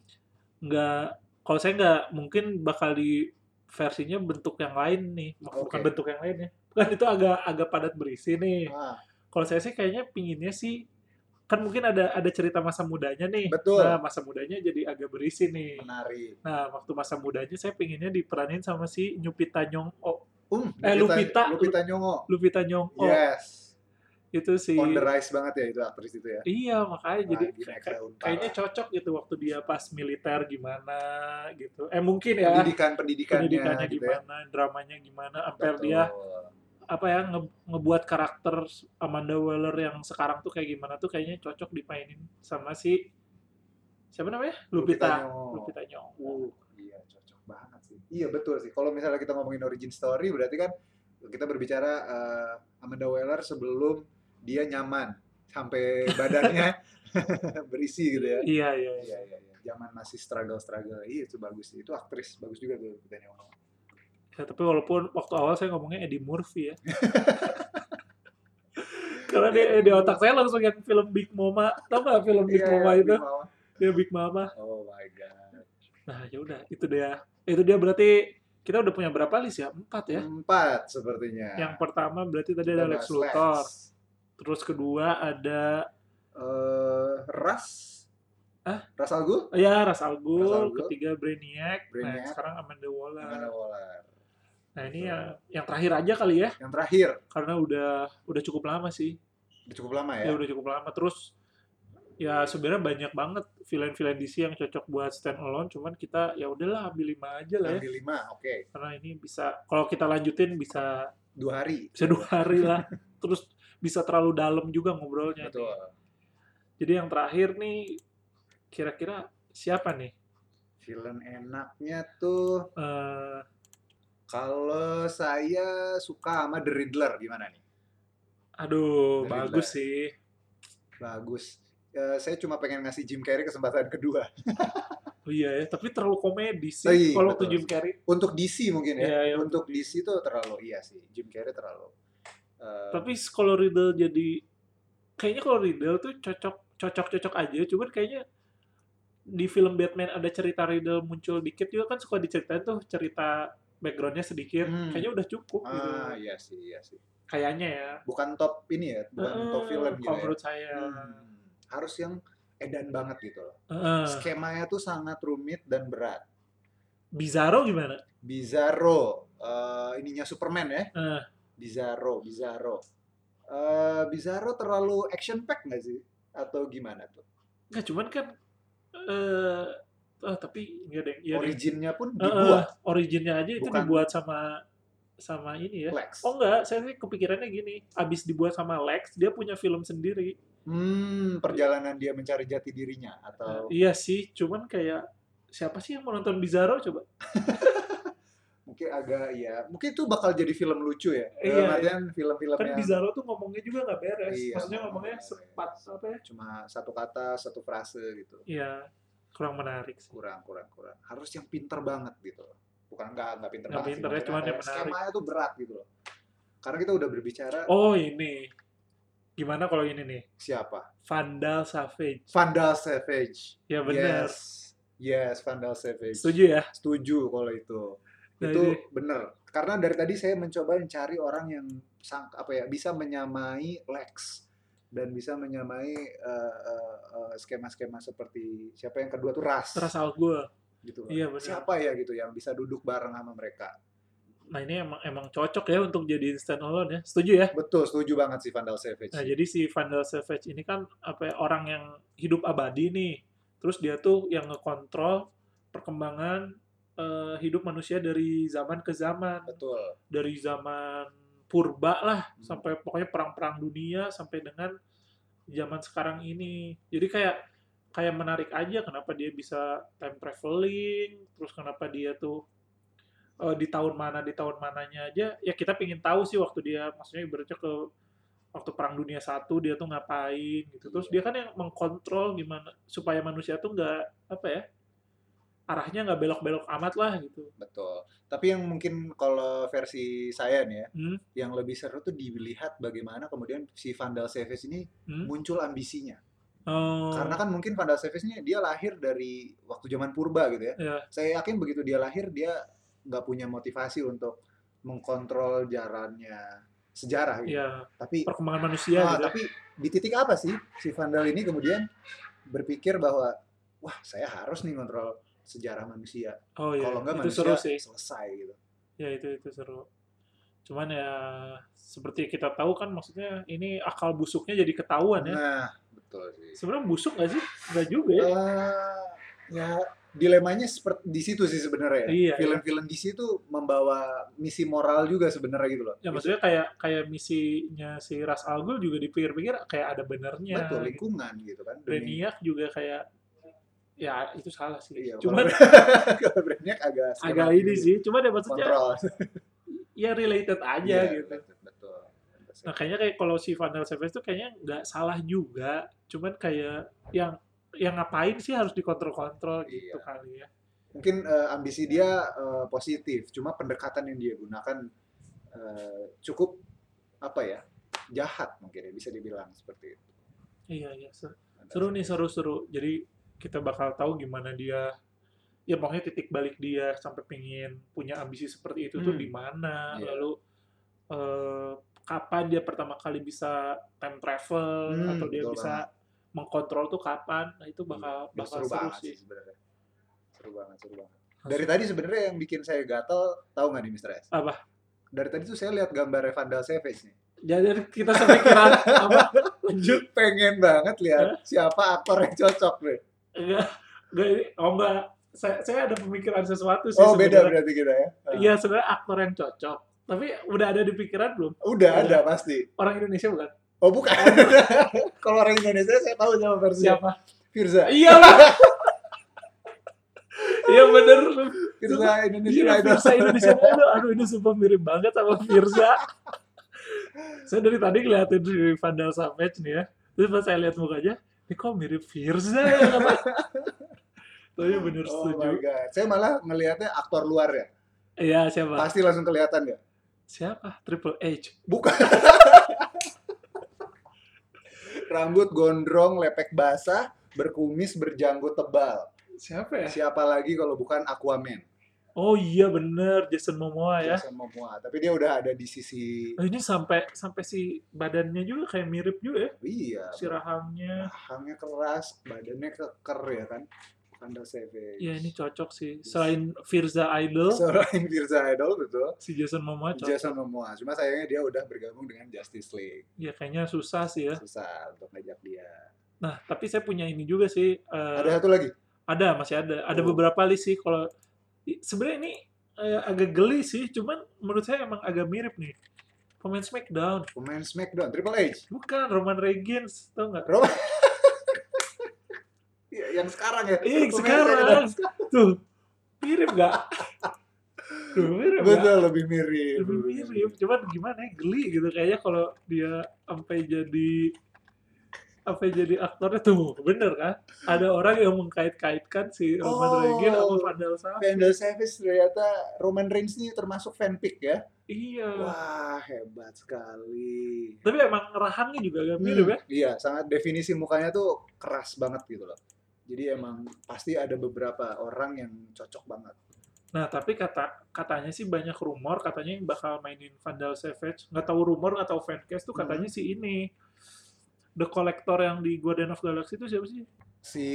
[SPEAKER 1] nggak kalau saya nggak mungkin bakal di versinya bentuk yang lain nih, Mak- bukan
[SPEAKER 2] Oke.
[SPEAKER 1] bentuk yang lain ya. Kan itu agak agak padat berisi nih.
[SPEAKER 2] ah,
[SPEAKER 1] Kalau saya sih kayaknya pinginnya sih kan mungkin ada ada cerita masa mudanya nih.
[SPEAKER 2] Betul.
[SPEAKER 1] Nah, masa mudanya jadi agak berisi nih.
[SPEAKER 2] menarik
[SPEAKER 1] Nah, waktu masa mudanya saya pinginnya diperanin sama si Nyupita Nyong Oh,
[SPEAKER 2] um
[SPEAKER 1] Eh, Lupita.
[SPEAKER 2] Lupita Nyong'o
[SPEAKER 1] Lupita Nyong Oh.
[SPEAKER 2] Iya. yes
[SPEAKER 1] Itu si
[SPEAKER 2] on the rise banget ya itu aktris itu ya
[SPEAKER 1] Iya makanya
[SPEAKER 2] Wah,
[SPEAKER 1] jadi
[SPEAKER 2] gila,
[SPEAKER 1] kayak-
[SPEAKER 2] keren
[SPEAKER 1] kayak- kayaknya
[SPEAKER 2] parah.
[SPEAKER 1] cocok gitu waktu dia pas militer gimana gitu. Eh mungkin ya
[SPEAKER 2] pendidikan pendidikannya,
[SPEAKER 1] pendidikannya
[SPEAKER 2] gitu ya
[SPEAKER 1] gimana, dramanya gimana, sampai
[SPEAKER 2] Betul.
[SPEAKER 1] dia apa ya nge- ngebuat karakter Amanda Waller yang sekarang tuh kayak gimana tuh kayaknya cocok dimainin sama si siapa namanya Lupita
[SPEAKER 2] Nyong'o.
[SPEAKER 1] Lupita Nyong.
[SPEAKER 2] Uh, iya cocok banget sih iya betul sih kalau misalnya kita ngomongin origin story berarti kan kita berbicara eh, Amanda Waller sebelum dia nyaman sampai badannya berisi gitu ya
[SPEAKER 1] Iya iya. iya.
[SPEAKER 2] Iya iya iya. Zaman masih struggle struggle. Iya itu bagus. Itu aktris bagus juga tuh Lupita Nyong'o.
[SPEAKER 1] Ya, tapi walaupun waktu awal saya ngomongnya Eddie Murphy ya. Karena di, di otak saya langsung yang film Big Mama, tau gak film Big
[SPEAKER 2] Iya,
[SPEAKER 1] Mama
[SPEAKER 2] iya,
[SPEAKER 1] itu?
[SPEAKER 2] Big Mama.
[SPEAKER 1] Ya Big Mama.
[SPEAKER 2] Oh my god.
[SPEAKER 1] Nah, ya udah, itu dia. Itu dia berarti kita udah punya berapa list ya? Empat ya.
[SPEAKER 2] Empat sepertinya.
[SPEAKER 1] Yang pertama berarti tadi ada Lex
[SPEAKER 2] Lex.
[SPEAKER 1] Luthor. Terus kedua ada
[SPEAKER 2] Eh, Ras.
[SPEAKER 1] Hah?
[SPEAKER 2] Ras Al Ghul?
[SPEAKER 1] oh ya Ras
[SPEAKER 2] Ra's al
[SPEAKER 1] Al Ghul,
[SPEAKER 2] Ghul.
[SPEAKER 1] ketiga Brainiac,
[SPEAKER 2] Brainiac.
[SPEAKER 1] nah sekarang Amanda Waller.
[SPEAKER 2] Amanda Waller.
[SPEAKER 1] Nah, ini
[SPEAKER 2] Betul.
[SPEAKER 1] yang yang terakhir aja kali ya
[SPEAKER 2] Yang terakhir.
[SPEAKER 1] karena udah udah cukup lama sih.
[SPEAKER 2] Udah cukup lama ya.
[SPEAKER 1] Ya udah cukup lama terus ya sebenarnya banyak banget villain-villain DC yang cocok buat stand alone cuman kita ya udahlah ambil lima aja lah ya
[SPEAKER 2] Ambil lima. Oke.
[SPEAKER 1] karena ini bisa kalau kita lanjutin bisa
[SPEAKER 2] Dua hari.
[SPEAKER 1] bisa dua hari lah terus bisa terlalu dalam juga ngobrolnya
[SPEAKER 2] Betul.
[SPEAKER 1] nih. jadi yang terakhir nih kira-kira siapa nih
[SPEAKER 2] Film enaknya tuh
[SPEAKER 1] Eh,
[SPEAKER 2] kalau saya suka sama The Riddler gimana nih?
[SPEAKER 1] aduh
[SPEAKER 2] Dari
[SPEAKER 1] bagus
[SPEAKER 2] Black.
[SPEAKER 1] sih
[SPEAKER 2] Bagus. Eh, saya cuma pengen ngasih Jim Carrey kesempatan kedua.
[SPEAKER 1] oh, iya ya tapi terlalu komedi
[SPEAKER 2] Oh,
[SPEAKER 1] sih
[SPEAKER 2] iya,
[SPEAKER 1] kalau waktu
[SPEAKER 2] betul.
[SPEAKER 1] Jim Carrey
[SPEAKER 2] Untuk DC mungkin ya.
[SPEAKER 1] Iya, iya,
[SPEAKER 2] untuk DC tuh terlalu iya sih. Jim Carrey terlalu. eh,
[SPEAKER 1] tapi kalau Riddle jadi kayaknya kalau Riddle tuh cocok cocok cocok aja cuman kayaknya di film Batman ada cerita Riddle muncul dikit juga kan suka diceritain tuh cerita backgroundnya sedikit
[SPEAKER 2] Hmm.
[SPEAKER 1] kayaknya udah cukup gitu
[SPEAKER 2] ah iya sih iya sih.
[SPEAKER 1] kayaknya ya.
[SPEAKER 2] bukan top ini ya bukan top
[SPEAKER 1] Eh,
[SPEAKER 2] film gitu
[SPEAKER 1] Kalau
[SPEAKER 2] ya
[SPEAKER 1] menurut saya.
[SPEAKER 2] Hmm. harus yang edan banget gitu loh
[SPEAKER 1] Eh,
[SPEAKER 2] skemanya tuh sangat rumit dan berat
[SPEAKER 1] Bizarro gimana?
[SPEAKER 2] Bizarro eh, ininya Superman ya
[SPEAKER 1] Eh.
[SPEAKER 2] Bizarro Bizarro Eh, Bizarro terlalu action pack nggak sih atau gimana tuh
[SPEAKER 1] Nggak, cuman kan eh ah, tapi nggak deh. Iya deh.
[SPEAKER 2] originnya pun
[SPEAKER 1] Eh, eh,
[SPEAKER 2] dibuat
[SPEAKER 1] originnya aja itu
[SPEAKER 2] Bukan-
[SPEAKER 1] dibuat sama sama ini ya.
[SPEAKER 2] Lex
[SPEAKER 1] Oh enggak, saya sih kepikirannya gini, abis dibuat sama Lex, dia punya film sendiri.
[SPEAKER 2] hmm perjalanan dia mencari jati dirinya atau
[SPEAKER 1] Iya sih, cuman kayak siapa sih yang mau nonton Bizarro coba?
[SPEAKER 2] mungkin agak ya mungkin itu bakal jadi film lucu ya
[SPEAKER 1] Iya,
[SPEAKER 2] Dalam artian film-film
[SPEAKER 1] Kan
[SPEAKER 2] yang
[SPEAKER 1] Bizarro tuh ngomongnya juga nggak beres.
[SPEAKER 2] Iya,
[SPEAKER 1] Maksudnya
[SPEAKER 2] nggak
[SPEAKER 1] ngomongnya
[SPEAKER 2] beres.
[SPEAKER 1] sempat apa ya?
[SPEAKER 2] cuma satu kata satu frase gitu
[SPEAKER 1] Iya, kurang menarik sih.
[SPEAKER 2] kurang kurang kurang harus yang pinter banget gitu loh bukan nggak nggak pinter
[SPEAKER 1] Nggak
[SPEAKER 2] banget sih,
[SPEAKER 1] pinter ya,
[SPEAKER 2] maksudnya
[SPEAKER 1] cuman yang
[SPEAKER 2] kayak
[SPEAKER 1] menarik.
[SPEAKER 2] skemanya tuh berat gitu loh karena kita udah berbicara
[SPEAKER 1] Oh ini, gimana kalau ini nih?
[SPEAKER 2] siapa
[SPEAKER 1] Vandal Savage.
[SPEAKER 2] Vandal Savage
[SPEAKER 1] Ya benar.
[SPEAKER 2] yes yes Vandal Savage
[SPEAKER 1] Setuju ya?
[SPEAKER 2] Setuju kalau itu
[SPEAKER 1] Nah,
[SPEAKER 2] itu
[SPEAKER 1] ini-
[SPEAKER 2] bener karena dari tadi saya mencoba mencari orang yang sang, apa ya bisa menyamai Lex dan bisa menyamai eh, eh, eh, skema-skema seperti siapa yang kedua tuh Ras
[SPEAKER 1] Terasa gue.
[SPEAKER 2] gitu loh.
[SPEAKER 1] Iya, benar.
[SPEAKER 2] siapa ya gitu yang bisa duduk bareng sama mereka
[SPEAKER 1] Nah ini emang emang cocok ya untuk jadi stand alone ya. Setuju ya?
[SPEAKER 2] Betul, setuju banget sih Vandal Savage.
[SPEAKER 1] Nah jadi si Vandal Savage ini kan apa ya, orang yang hidup abadi nih. Terus dia tuh yang ngekontrol perkembangan eh, hidup manusia dari zaman ke zaman.
[SPEAKER 2] Betul. Hmm,
[SPEAKER 1] Dari zaman purba lah sampai pokoknya perang-perang dunia sampai dengan zaman sekarang ini. Jadi kayak kayak menarik aja kenapa dia bisa time traveling, terus kenapa dia tuh eh, di tahun mana di tahun mananya aja. Ya kita pingin tahu sih waktu dia maksudnya ibaratnya ke waktu perang dunia satu dia tuh ngapain gitu.
[SPEAKER 2] Iya.
[SPEAKER 1] Terus dia kan yang mengkontrol gimana supaya manusia tuh nggak apa ya arahnya nggak belok-belok amat lah gitu.
[SPEAKER 2] Betul. Tapi yang mungkin kalau versi saya nih ya,
[SPEAKER 1] Hmm,
[SPEAKER 2] yang lebih seru tuh dilihat bagaimana kemudian si Vandal Savage ini
[SPEAKER 1] hmm.
[SPEAKER 2] muncul ambisinya.
[SPEAKER 1] Oh,
[SPEAKER 2] Karena kan mungkin Vandal Savage ini dia lahir dari waktu zaman purba gitu ya.
[SPEAKER 1] Iya.
[SPEAKER 2] Saya yakin begitu dia lahir dia nggak punya motivasi untuk mengkontrol jalannya sejarah gitu.
[SPEAKER 1] ya
[SPEAKER 2] Tapi
[SPEAKER 1] perkembangan manusia
[SPEAKER 2] Ah,
[SPEAKER 1] gitu.
[SPEAKER 2] tapi di titik apa sih si Vandal ini kemudian berpikir bahwa wah saya harus nih ngontrol sejarah manusia.
[SPEAKER 1] Oh iya,
[SPEAKER 2] Kalau nggak
[SPEAKER 1] itu
[SPEAKER 2] manusia
[SPEAKER 1] seru sih.
[SPEAKER 2] selesai gitu.
[SPEAKER 1] Ya itu itu seru. Cuman ya seperti kita tahu kan maksudnya ini akal busuknya jadi ketahuan ya.
[SPEAKER 2] Nah, betul sih.
[SPEAKER 1] Sebenarnya busuk nggak sih? Nggak juga ya.
[SPEAKER 2] Eh, ya dilemanya seperti di situ sih sebenarnya.
[SPEAKER 1] Iya,
[SPEAKER 2] ya. Film-film di situ membawa misi moral juga sebenarnya gitu loh.
[SPEAKER 1] Ya maksudnya kayak kayak misinya si Ras Al Ghul juga dipikir-pikir kayak ada benernya.
[SPEAKER 2] betul lingkungan gitu kan. Demi-
[SPEAKER 1] Brainiac juga kayak ya itu salah sih.
[SPEAKER 2] Iya, kalau-
[SPEAKER 1] Cuman
[SPEAKER 2] kalau Brainiac agak
[SPEAKER 1] agak
[SPEAKER 2] skematik
[SPEAKER 1] ini
[SPEAKER 2] gitu.
[SPEAKER 1] sih. Cuman ya maksudnya
[SPEAKER 2] kontrol
[SPEAKER 1] ya related aja
[SPEAKER 2] Iya,
[SPEAKER 1] gitu.
[SPEAKER 2] Betul.
[SPEAKER 1] Nah, kayaknya kayak kalau si Vandal Savage tuh kayaknya nggak salah juga, cuman kayak yang yang ngapain sih harus dikontrol-kontrol
[SPEAKER 2] Iya.
[SPEAKER 1] gitu kali ya.
[SPEAKER 2] mungkin eh, ambisi dia eh, positif cuma pendekatan yang dia gunakan eh, cukup apa ya jahat mungkin ya bisa dibilang seperti itu
[SPEAKER 1] Iya, iya. Seru, seru nih, seru-seru. Jadi kita bakal tahu gimana dia ya pokoknya titik balik dia sampai pingin punya ambisi seperti itu tuh
[SPEAKER 2] Hmm.
[SPEAKER 1] di mana,
[SPEAKER 2] Iya.
[SPEAKER 1] lalu eh, kapan dia pertama kali bisa time travel
[SPEAKER 2] Hmm,
[SPEAKER 1] atau dia
[SPEAKER 2] betul
[SPEAKER 1] bisa mengkontrol tuh kapan. Nah, itu bakal
[SPEAKER 2] Iya,
[SPEAKER 1] bakal
[SPEAKER 2] seru,
[SPEAKER 1] seru,
[SPEAKER 2] banget sih
[SPEAKER 1] sih.
[SPEAKER 2] sebenarnya seru banget seru banget dari tadi sebenarnya yang bikin saya gatel tahu nggak nih Mr. S
[SPEAKER 1] Apa?
[SPEAKER 2] dari tadi tuh saya lihat gambar Vandal Savage nih
[SPEAKER 1] Jadi kita sampai kira apa lanjut
[SPEAKER 2] pengen banget lihat siapa aktor yang cocok nih
[SPEAKER 1] enggak enggak ini oh enggak saya, saya ada pemikiran sesuatu sih
[SPEAKER 2] oh beda
[SPEAKER 1] sebenarnya.
[SPEAKER 2] berarti kita ya Ah.
[SPEAKER 1] iya sebenarnya aktor yang cocok tapi udah ada di pikiran belum
[SPEAKER 2] udah
[SPEAKER 1] Iya.
[SPEAKER 2] ada pasti
[SPEAKER 1] orang Indonesia bukan
[SPEAKER 2] oh bukan kalau orang Indonesia saya tahu sama versi
[SPEAKER 1] siapa
[SPEAKER 2] Firza
[SPEAKER 1] iyalah iya bener
[SPEAKER 2] Firza Indonesia
[SPEAKER 1] Iya,
[SPEAKER 2] Idol
[SPEAKER 1] Firza Indonesia Idol. Aduh, ini sumpah mirip banget sama Firza. saya dari tadi ngeliatin di Vandal Savage nih ya. Terus pas saya lihat mukanya, ini kok mirip Firza ya? Kata. Tapi bener
[SPEAKER 2] Oh
[SPEAKER 1] setuju.
[SPEAKER 2] my God. Saya malah ngelihatnya aktor luar ya.
[SPEAKER 1] Iya, siapa?
[SPEAKER 2] Pasti langsung kelihatan ya.
[SPEAKER 1] Siapa? Triple H.
[SPEAKER 2] Bukan. Rambut gondrong, lepek basah, berkumis, berjanggut tebal.
[SPEAKER 1] Siapa ya?
[SPEAKER 2] Siapa lagi kalau bukan Aquaman?
[SPEAKER 1] Oh iya bener Jason Momoa ya.
[SPEAKER 2] Jason Momoa. Tapi dia udah ada di sisi
[SPEAKER 1] Oh, ini sampai sampai si badannya juga kayak mirip juga ya.
[SPEAKER 2] iya.
[SPEAKER 1] Si rahamnya.
[SPEAKER 2] Rahangnya keras, badannya keker ya kan. Anda Savage.
[SPEAKER 1] Ya ini cocok sih. Selain Firza Idol,
[SPEAKER 2] Seorang Mirza Idol betul.
[SPEAKER 1] si Jason Momoa cocok.
[SPEAKER 2] Jason Momoa. Cuma sayangnya dia udah bergabung dengan Justice League.
[SPEAKER 1] Ya kayaknya susah sih ya.
[SPEAKER 2] Susah untuk ngajak dia.
[SPEAKER 1] Nah, tapi saya punya ini juga sih. eh,
[SPEAKER 2] Ada satu lagi.
[SPEAKER 1] ada masih ada ada
[SPEAKER 2] Oh.
[SPEAKER 1] beberapa list sih kalau i- sebenarnya ini eh, agak geli sih cuman menurut saya emang agak mirip nih pemain Smackdown
[SPEAKER 2] Pemain SmackDown, Triple H.
[SPEAKER 1] bukan Roman Reigns tau nggak Eh,
[SPEAKER 2] Roman. Ya, yang sekarang ya. Pemain
[SPEAKER 1] Ih, sekarang
[SPEAKER 2] SmackDown.
[SPEAKER 1] tuh mirip nggak tuh mirip nggak
[SPEAKER 2] Betul, lebih mirip.
[SPEAKER 1] lebih mirip Iya, cuman gimana ya geli gitu kayaknya kalau dia sampai jadi sampai jadi aktornya tuh bener kan ada orang yang mengkait-kaitkan si Roman
[SPEAKER 2] Oh.
[SPEAKER 1] Reigns sama Vandal Savage
[SPEAKER 2] Vandal Savage ternyata Roman Reigns ini termasuk fanpick ya.
[SPEAKER 1] iya
[SPEAKER 2] Wah, hebat sekali.
[SPEAKER 1] tapi emang rahangnya juga agak mirip ya
[SPEAKER 2] Hmm, Iya, sangat definisi mukanya tuh keras banget gitu loh. Jadi emang pasti ada beberapa orang yang cocok banget.
[SPEAKER 1] Nah, tapi kata katanya sih banyak rumor katanya yang bakal mainin Vandal Savage. Nggak tahu rumor atau fancast tuh
[SPEAKER 2] Hmm.
[SPEAKER 1] katanya sih ini The Collector yang di Guardian of Galaxy itu siapa sih?
[SPEAKER 2] Si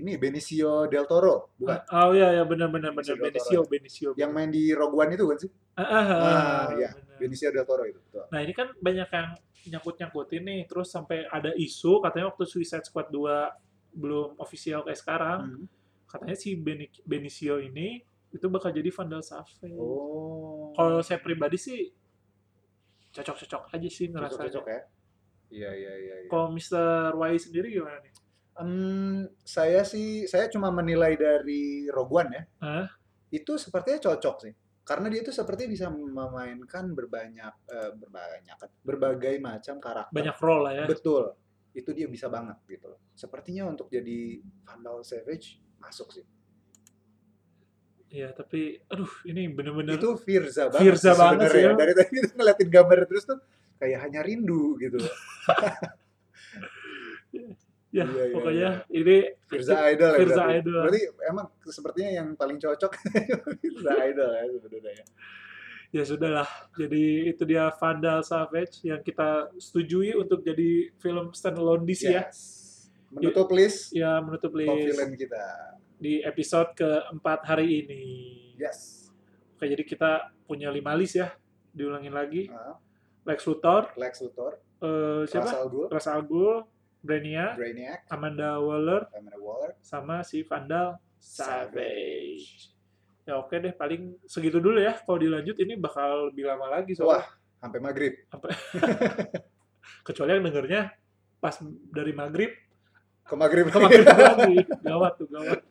[SPEAKER 2] ini Benicio del Toro, bukan?
[SPEAKER 1] Oh iya ya benar benar
[SPEAKER 2] Benicio del
[SPEAKER 1] benar Benicio
[SPEAKER 2] Toro ya?
[SPEAKER 1] Benicio.
[SPEAKER 2] Yang main di Rogue One itu kan sih?
[SPEAKER 1] Ah, ah, ah,
[SPEAKER 2] Ah, iya.
[SPEAKER 1] benar.
[SPEAKER 2] Benicio del Toro itu. Betul.
[SPEAKER 1] Nah, ini kan banyak yang nyangkut-nyangkutin nih terus sampai ada isu katanya waktu Suicide Squad 2 belum official kayak sekarang,
[SPEAKER 2] Hmm.
[SPEAKER 1] katanya si Beni- Benicio ini itu bakal jadi Vandal Savage.
[SPEAKER 2] Oh.
[SPEAKER 1] Kalau saya pribadi sih cocok-cocok aja sih ngerasa.
[SPEAKER 2] cocok-cocok ya. Iya, iya, iya. iya.
[SPEAKER 1] Kalau Mr. Y sendiri gimana nih?
[SPEAKER 2] Hmm, saya sih, saya cuma menilai dari Rogue One ya.
[SPEAKER 1] Hah?
[SPEAKER 2] Itu sepertinya cocok sih. Karena dia itu seperti bisa memainkan berbanyak, eh, berbanyak, berbagai macam karakter.
[SPEAKER 1] Banyak role lah ya.
[SPEAKER 2] Betul. Itu dia bisa banget gitu loh. Sepertinya untuk jadi Vandal Savage masuk sih.
[SPEAKER 1] Iya, tapi aduh ini bener-bener
[SPEAKER 2] Itu Firza banget.
[SPEAKER 1] Firza
[SPEAKER 2] sih
[SPEAKER 1] banget
[SPEAKER 2] sebenarnya.
[SPEAKER 1] sih, ya.
[SPEAKER 2] Dari tadi tuh ngeliatin gambar terus tuh kayak hanya rindu gitu. loh. iya,
[SPEAKER 1] ya
[SPEAKER 2] iya,
[SPEAKER 1] pokoknya ini
[SPEAKER 2] Firza Idol ya
[SPEAKER 1] Firza
[SPEAKER 2] berarti.
[SPEAKER 1] Idol.
[SPEAKER 2] Berarti emang sepertinya yang paling cocok Firza Idol ya sebenarnya.
[SPEAKER 1] ya sudahlah. Jadi itu dia Vandal Savage yang kita setujui untuk jadi film standalone DC ya.
[SPEAKER 2] Yes. Menutup list
[SPEAKER 1] Ya menutup
[SPEAKER 2] top
[SPEAKER 1] list
[SPEAKER 2] villain kita.
[SPEAKER 1] di episode keempat hari ini.
[SPEAKER 2] Yes.
[SPEAKER 1] Oke, jadi kita punya lima list ya. Diulangin lagi.
[SPEAKER 2] Ah,
[SPEAKER 1] Lex Luthor,
[SPEAKER 2] Lex Luthor,
[SPEAKER 1] eh, siapa?
[SPEAKER 2] Russell Gould,
[SPEAKER 1] Ra's al Ghul, Brenia,
[SPEAKER 2] Brainiac,
[SPEAKER 1] Amanda Waller,
[SPEAKER 2] Amanda Waller.
[SPEAKER 1] sama si Vandal Savage. Ya oke deh, paling segitu dulu ya. Kalau dilanjut ini bakal lebih lama lagi soalnya.
[SPEAKER 2] Wah, sampai maghrib.
[SPEAKER 1] Kecuali yang dengernya pas dari maghrib,
[SPEAKER 2] Ke maghrib.
[SPEAKER 1] ke maghrib lagi. Gawat tuh, gawat.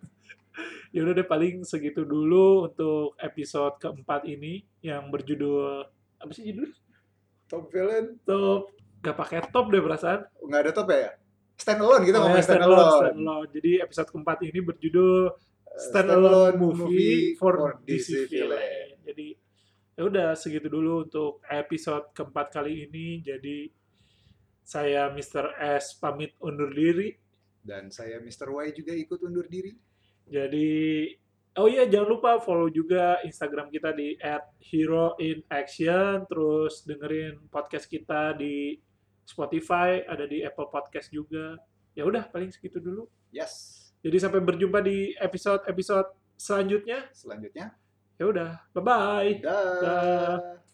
[SPEAKER 1] Ya udah deh, paling segitu dulu untuk episode keempat ini yang berjudul apa sih judul?
[SPEAKER 2] top villain.
[SPEAKER 1] Top gak pakai top deh perasaan.
[SPEAKER 2] Nggak ada top ya? Stand alone kita
[SPEAKER 1] Oh ya,
[SPEAKER 2] ngomongin stand
[SPEAKER 1] standalone,
[SPEAKER 2] alone.
[SPEAKER 1] standalone. Jadi episode keempat ini berjudul
[SPEAKER 2] Eh, standalone
[SPEAKER 1] standalone movie for,
[SPEAKER 2] villain.
[SPEAKER 1] DC Villain. Jadi ya udah segitu dulu untuk episode keempat kali ini. Jadi saya Mr. S pamit undur diri.
[SPEAKER 2] Dan saya Mr. Y juga ikut undur diri.
[SPEAKER 1] Jadi oh iya jangan lupa follow juga Instagram kita di @heroinaction terus dengerin podcast kita di Spotify, ada di Apple Podcast juga. Ya udah paling segitu dulu.
[SPEAKER 2] Yes.
[SPEAKER 1] Jadi sampai berjumpa di episode-episode selanjutnya.
[SPEAKER 2] Selanjutnya.
[SPEAKER 1] Ya udah, bye bye.
[SPEAKER 2] Dah.
[SPEAKER 1] Dah.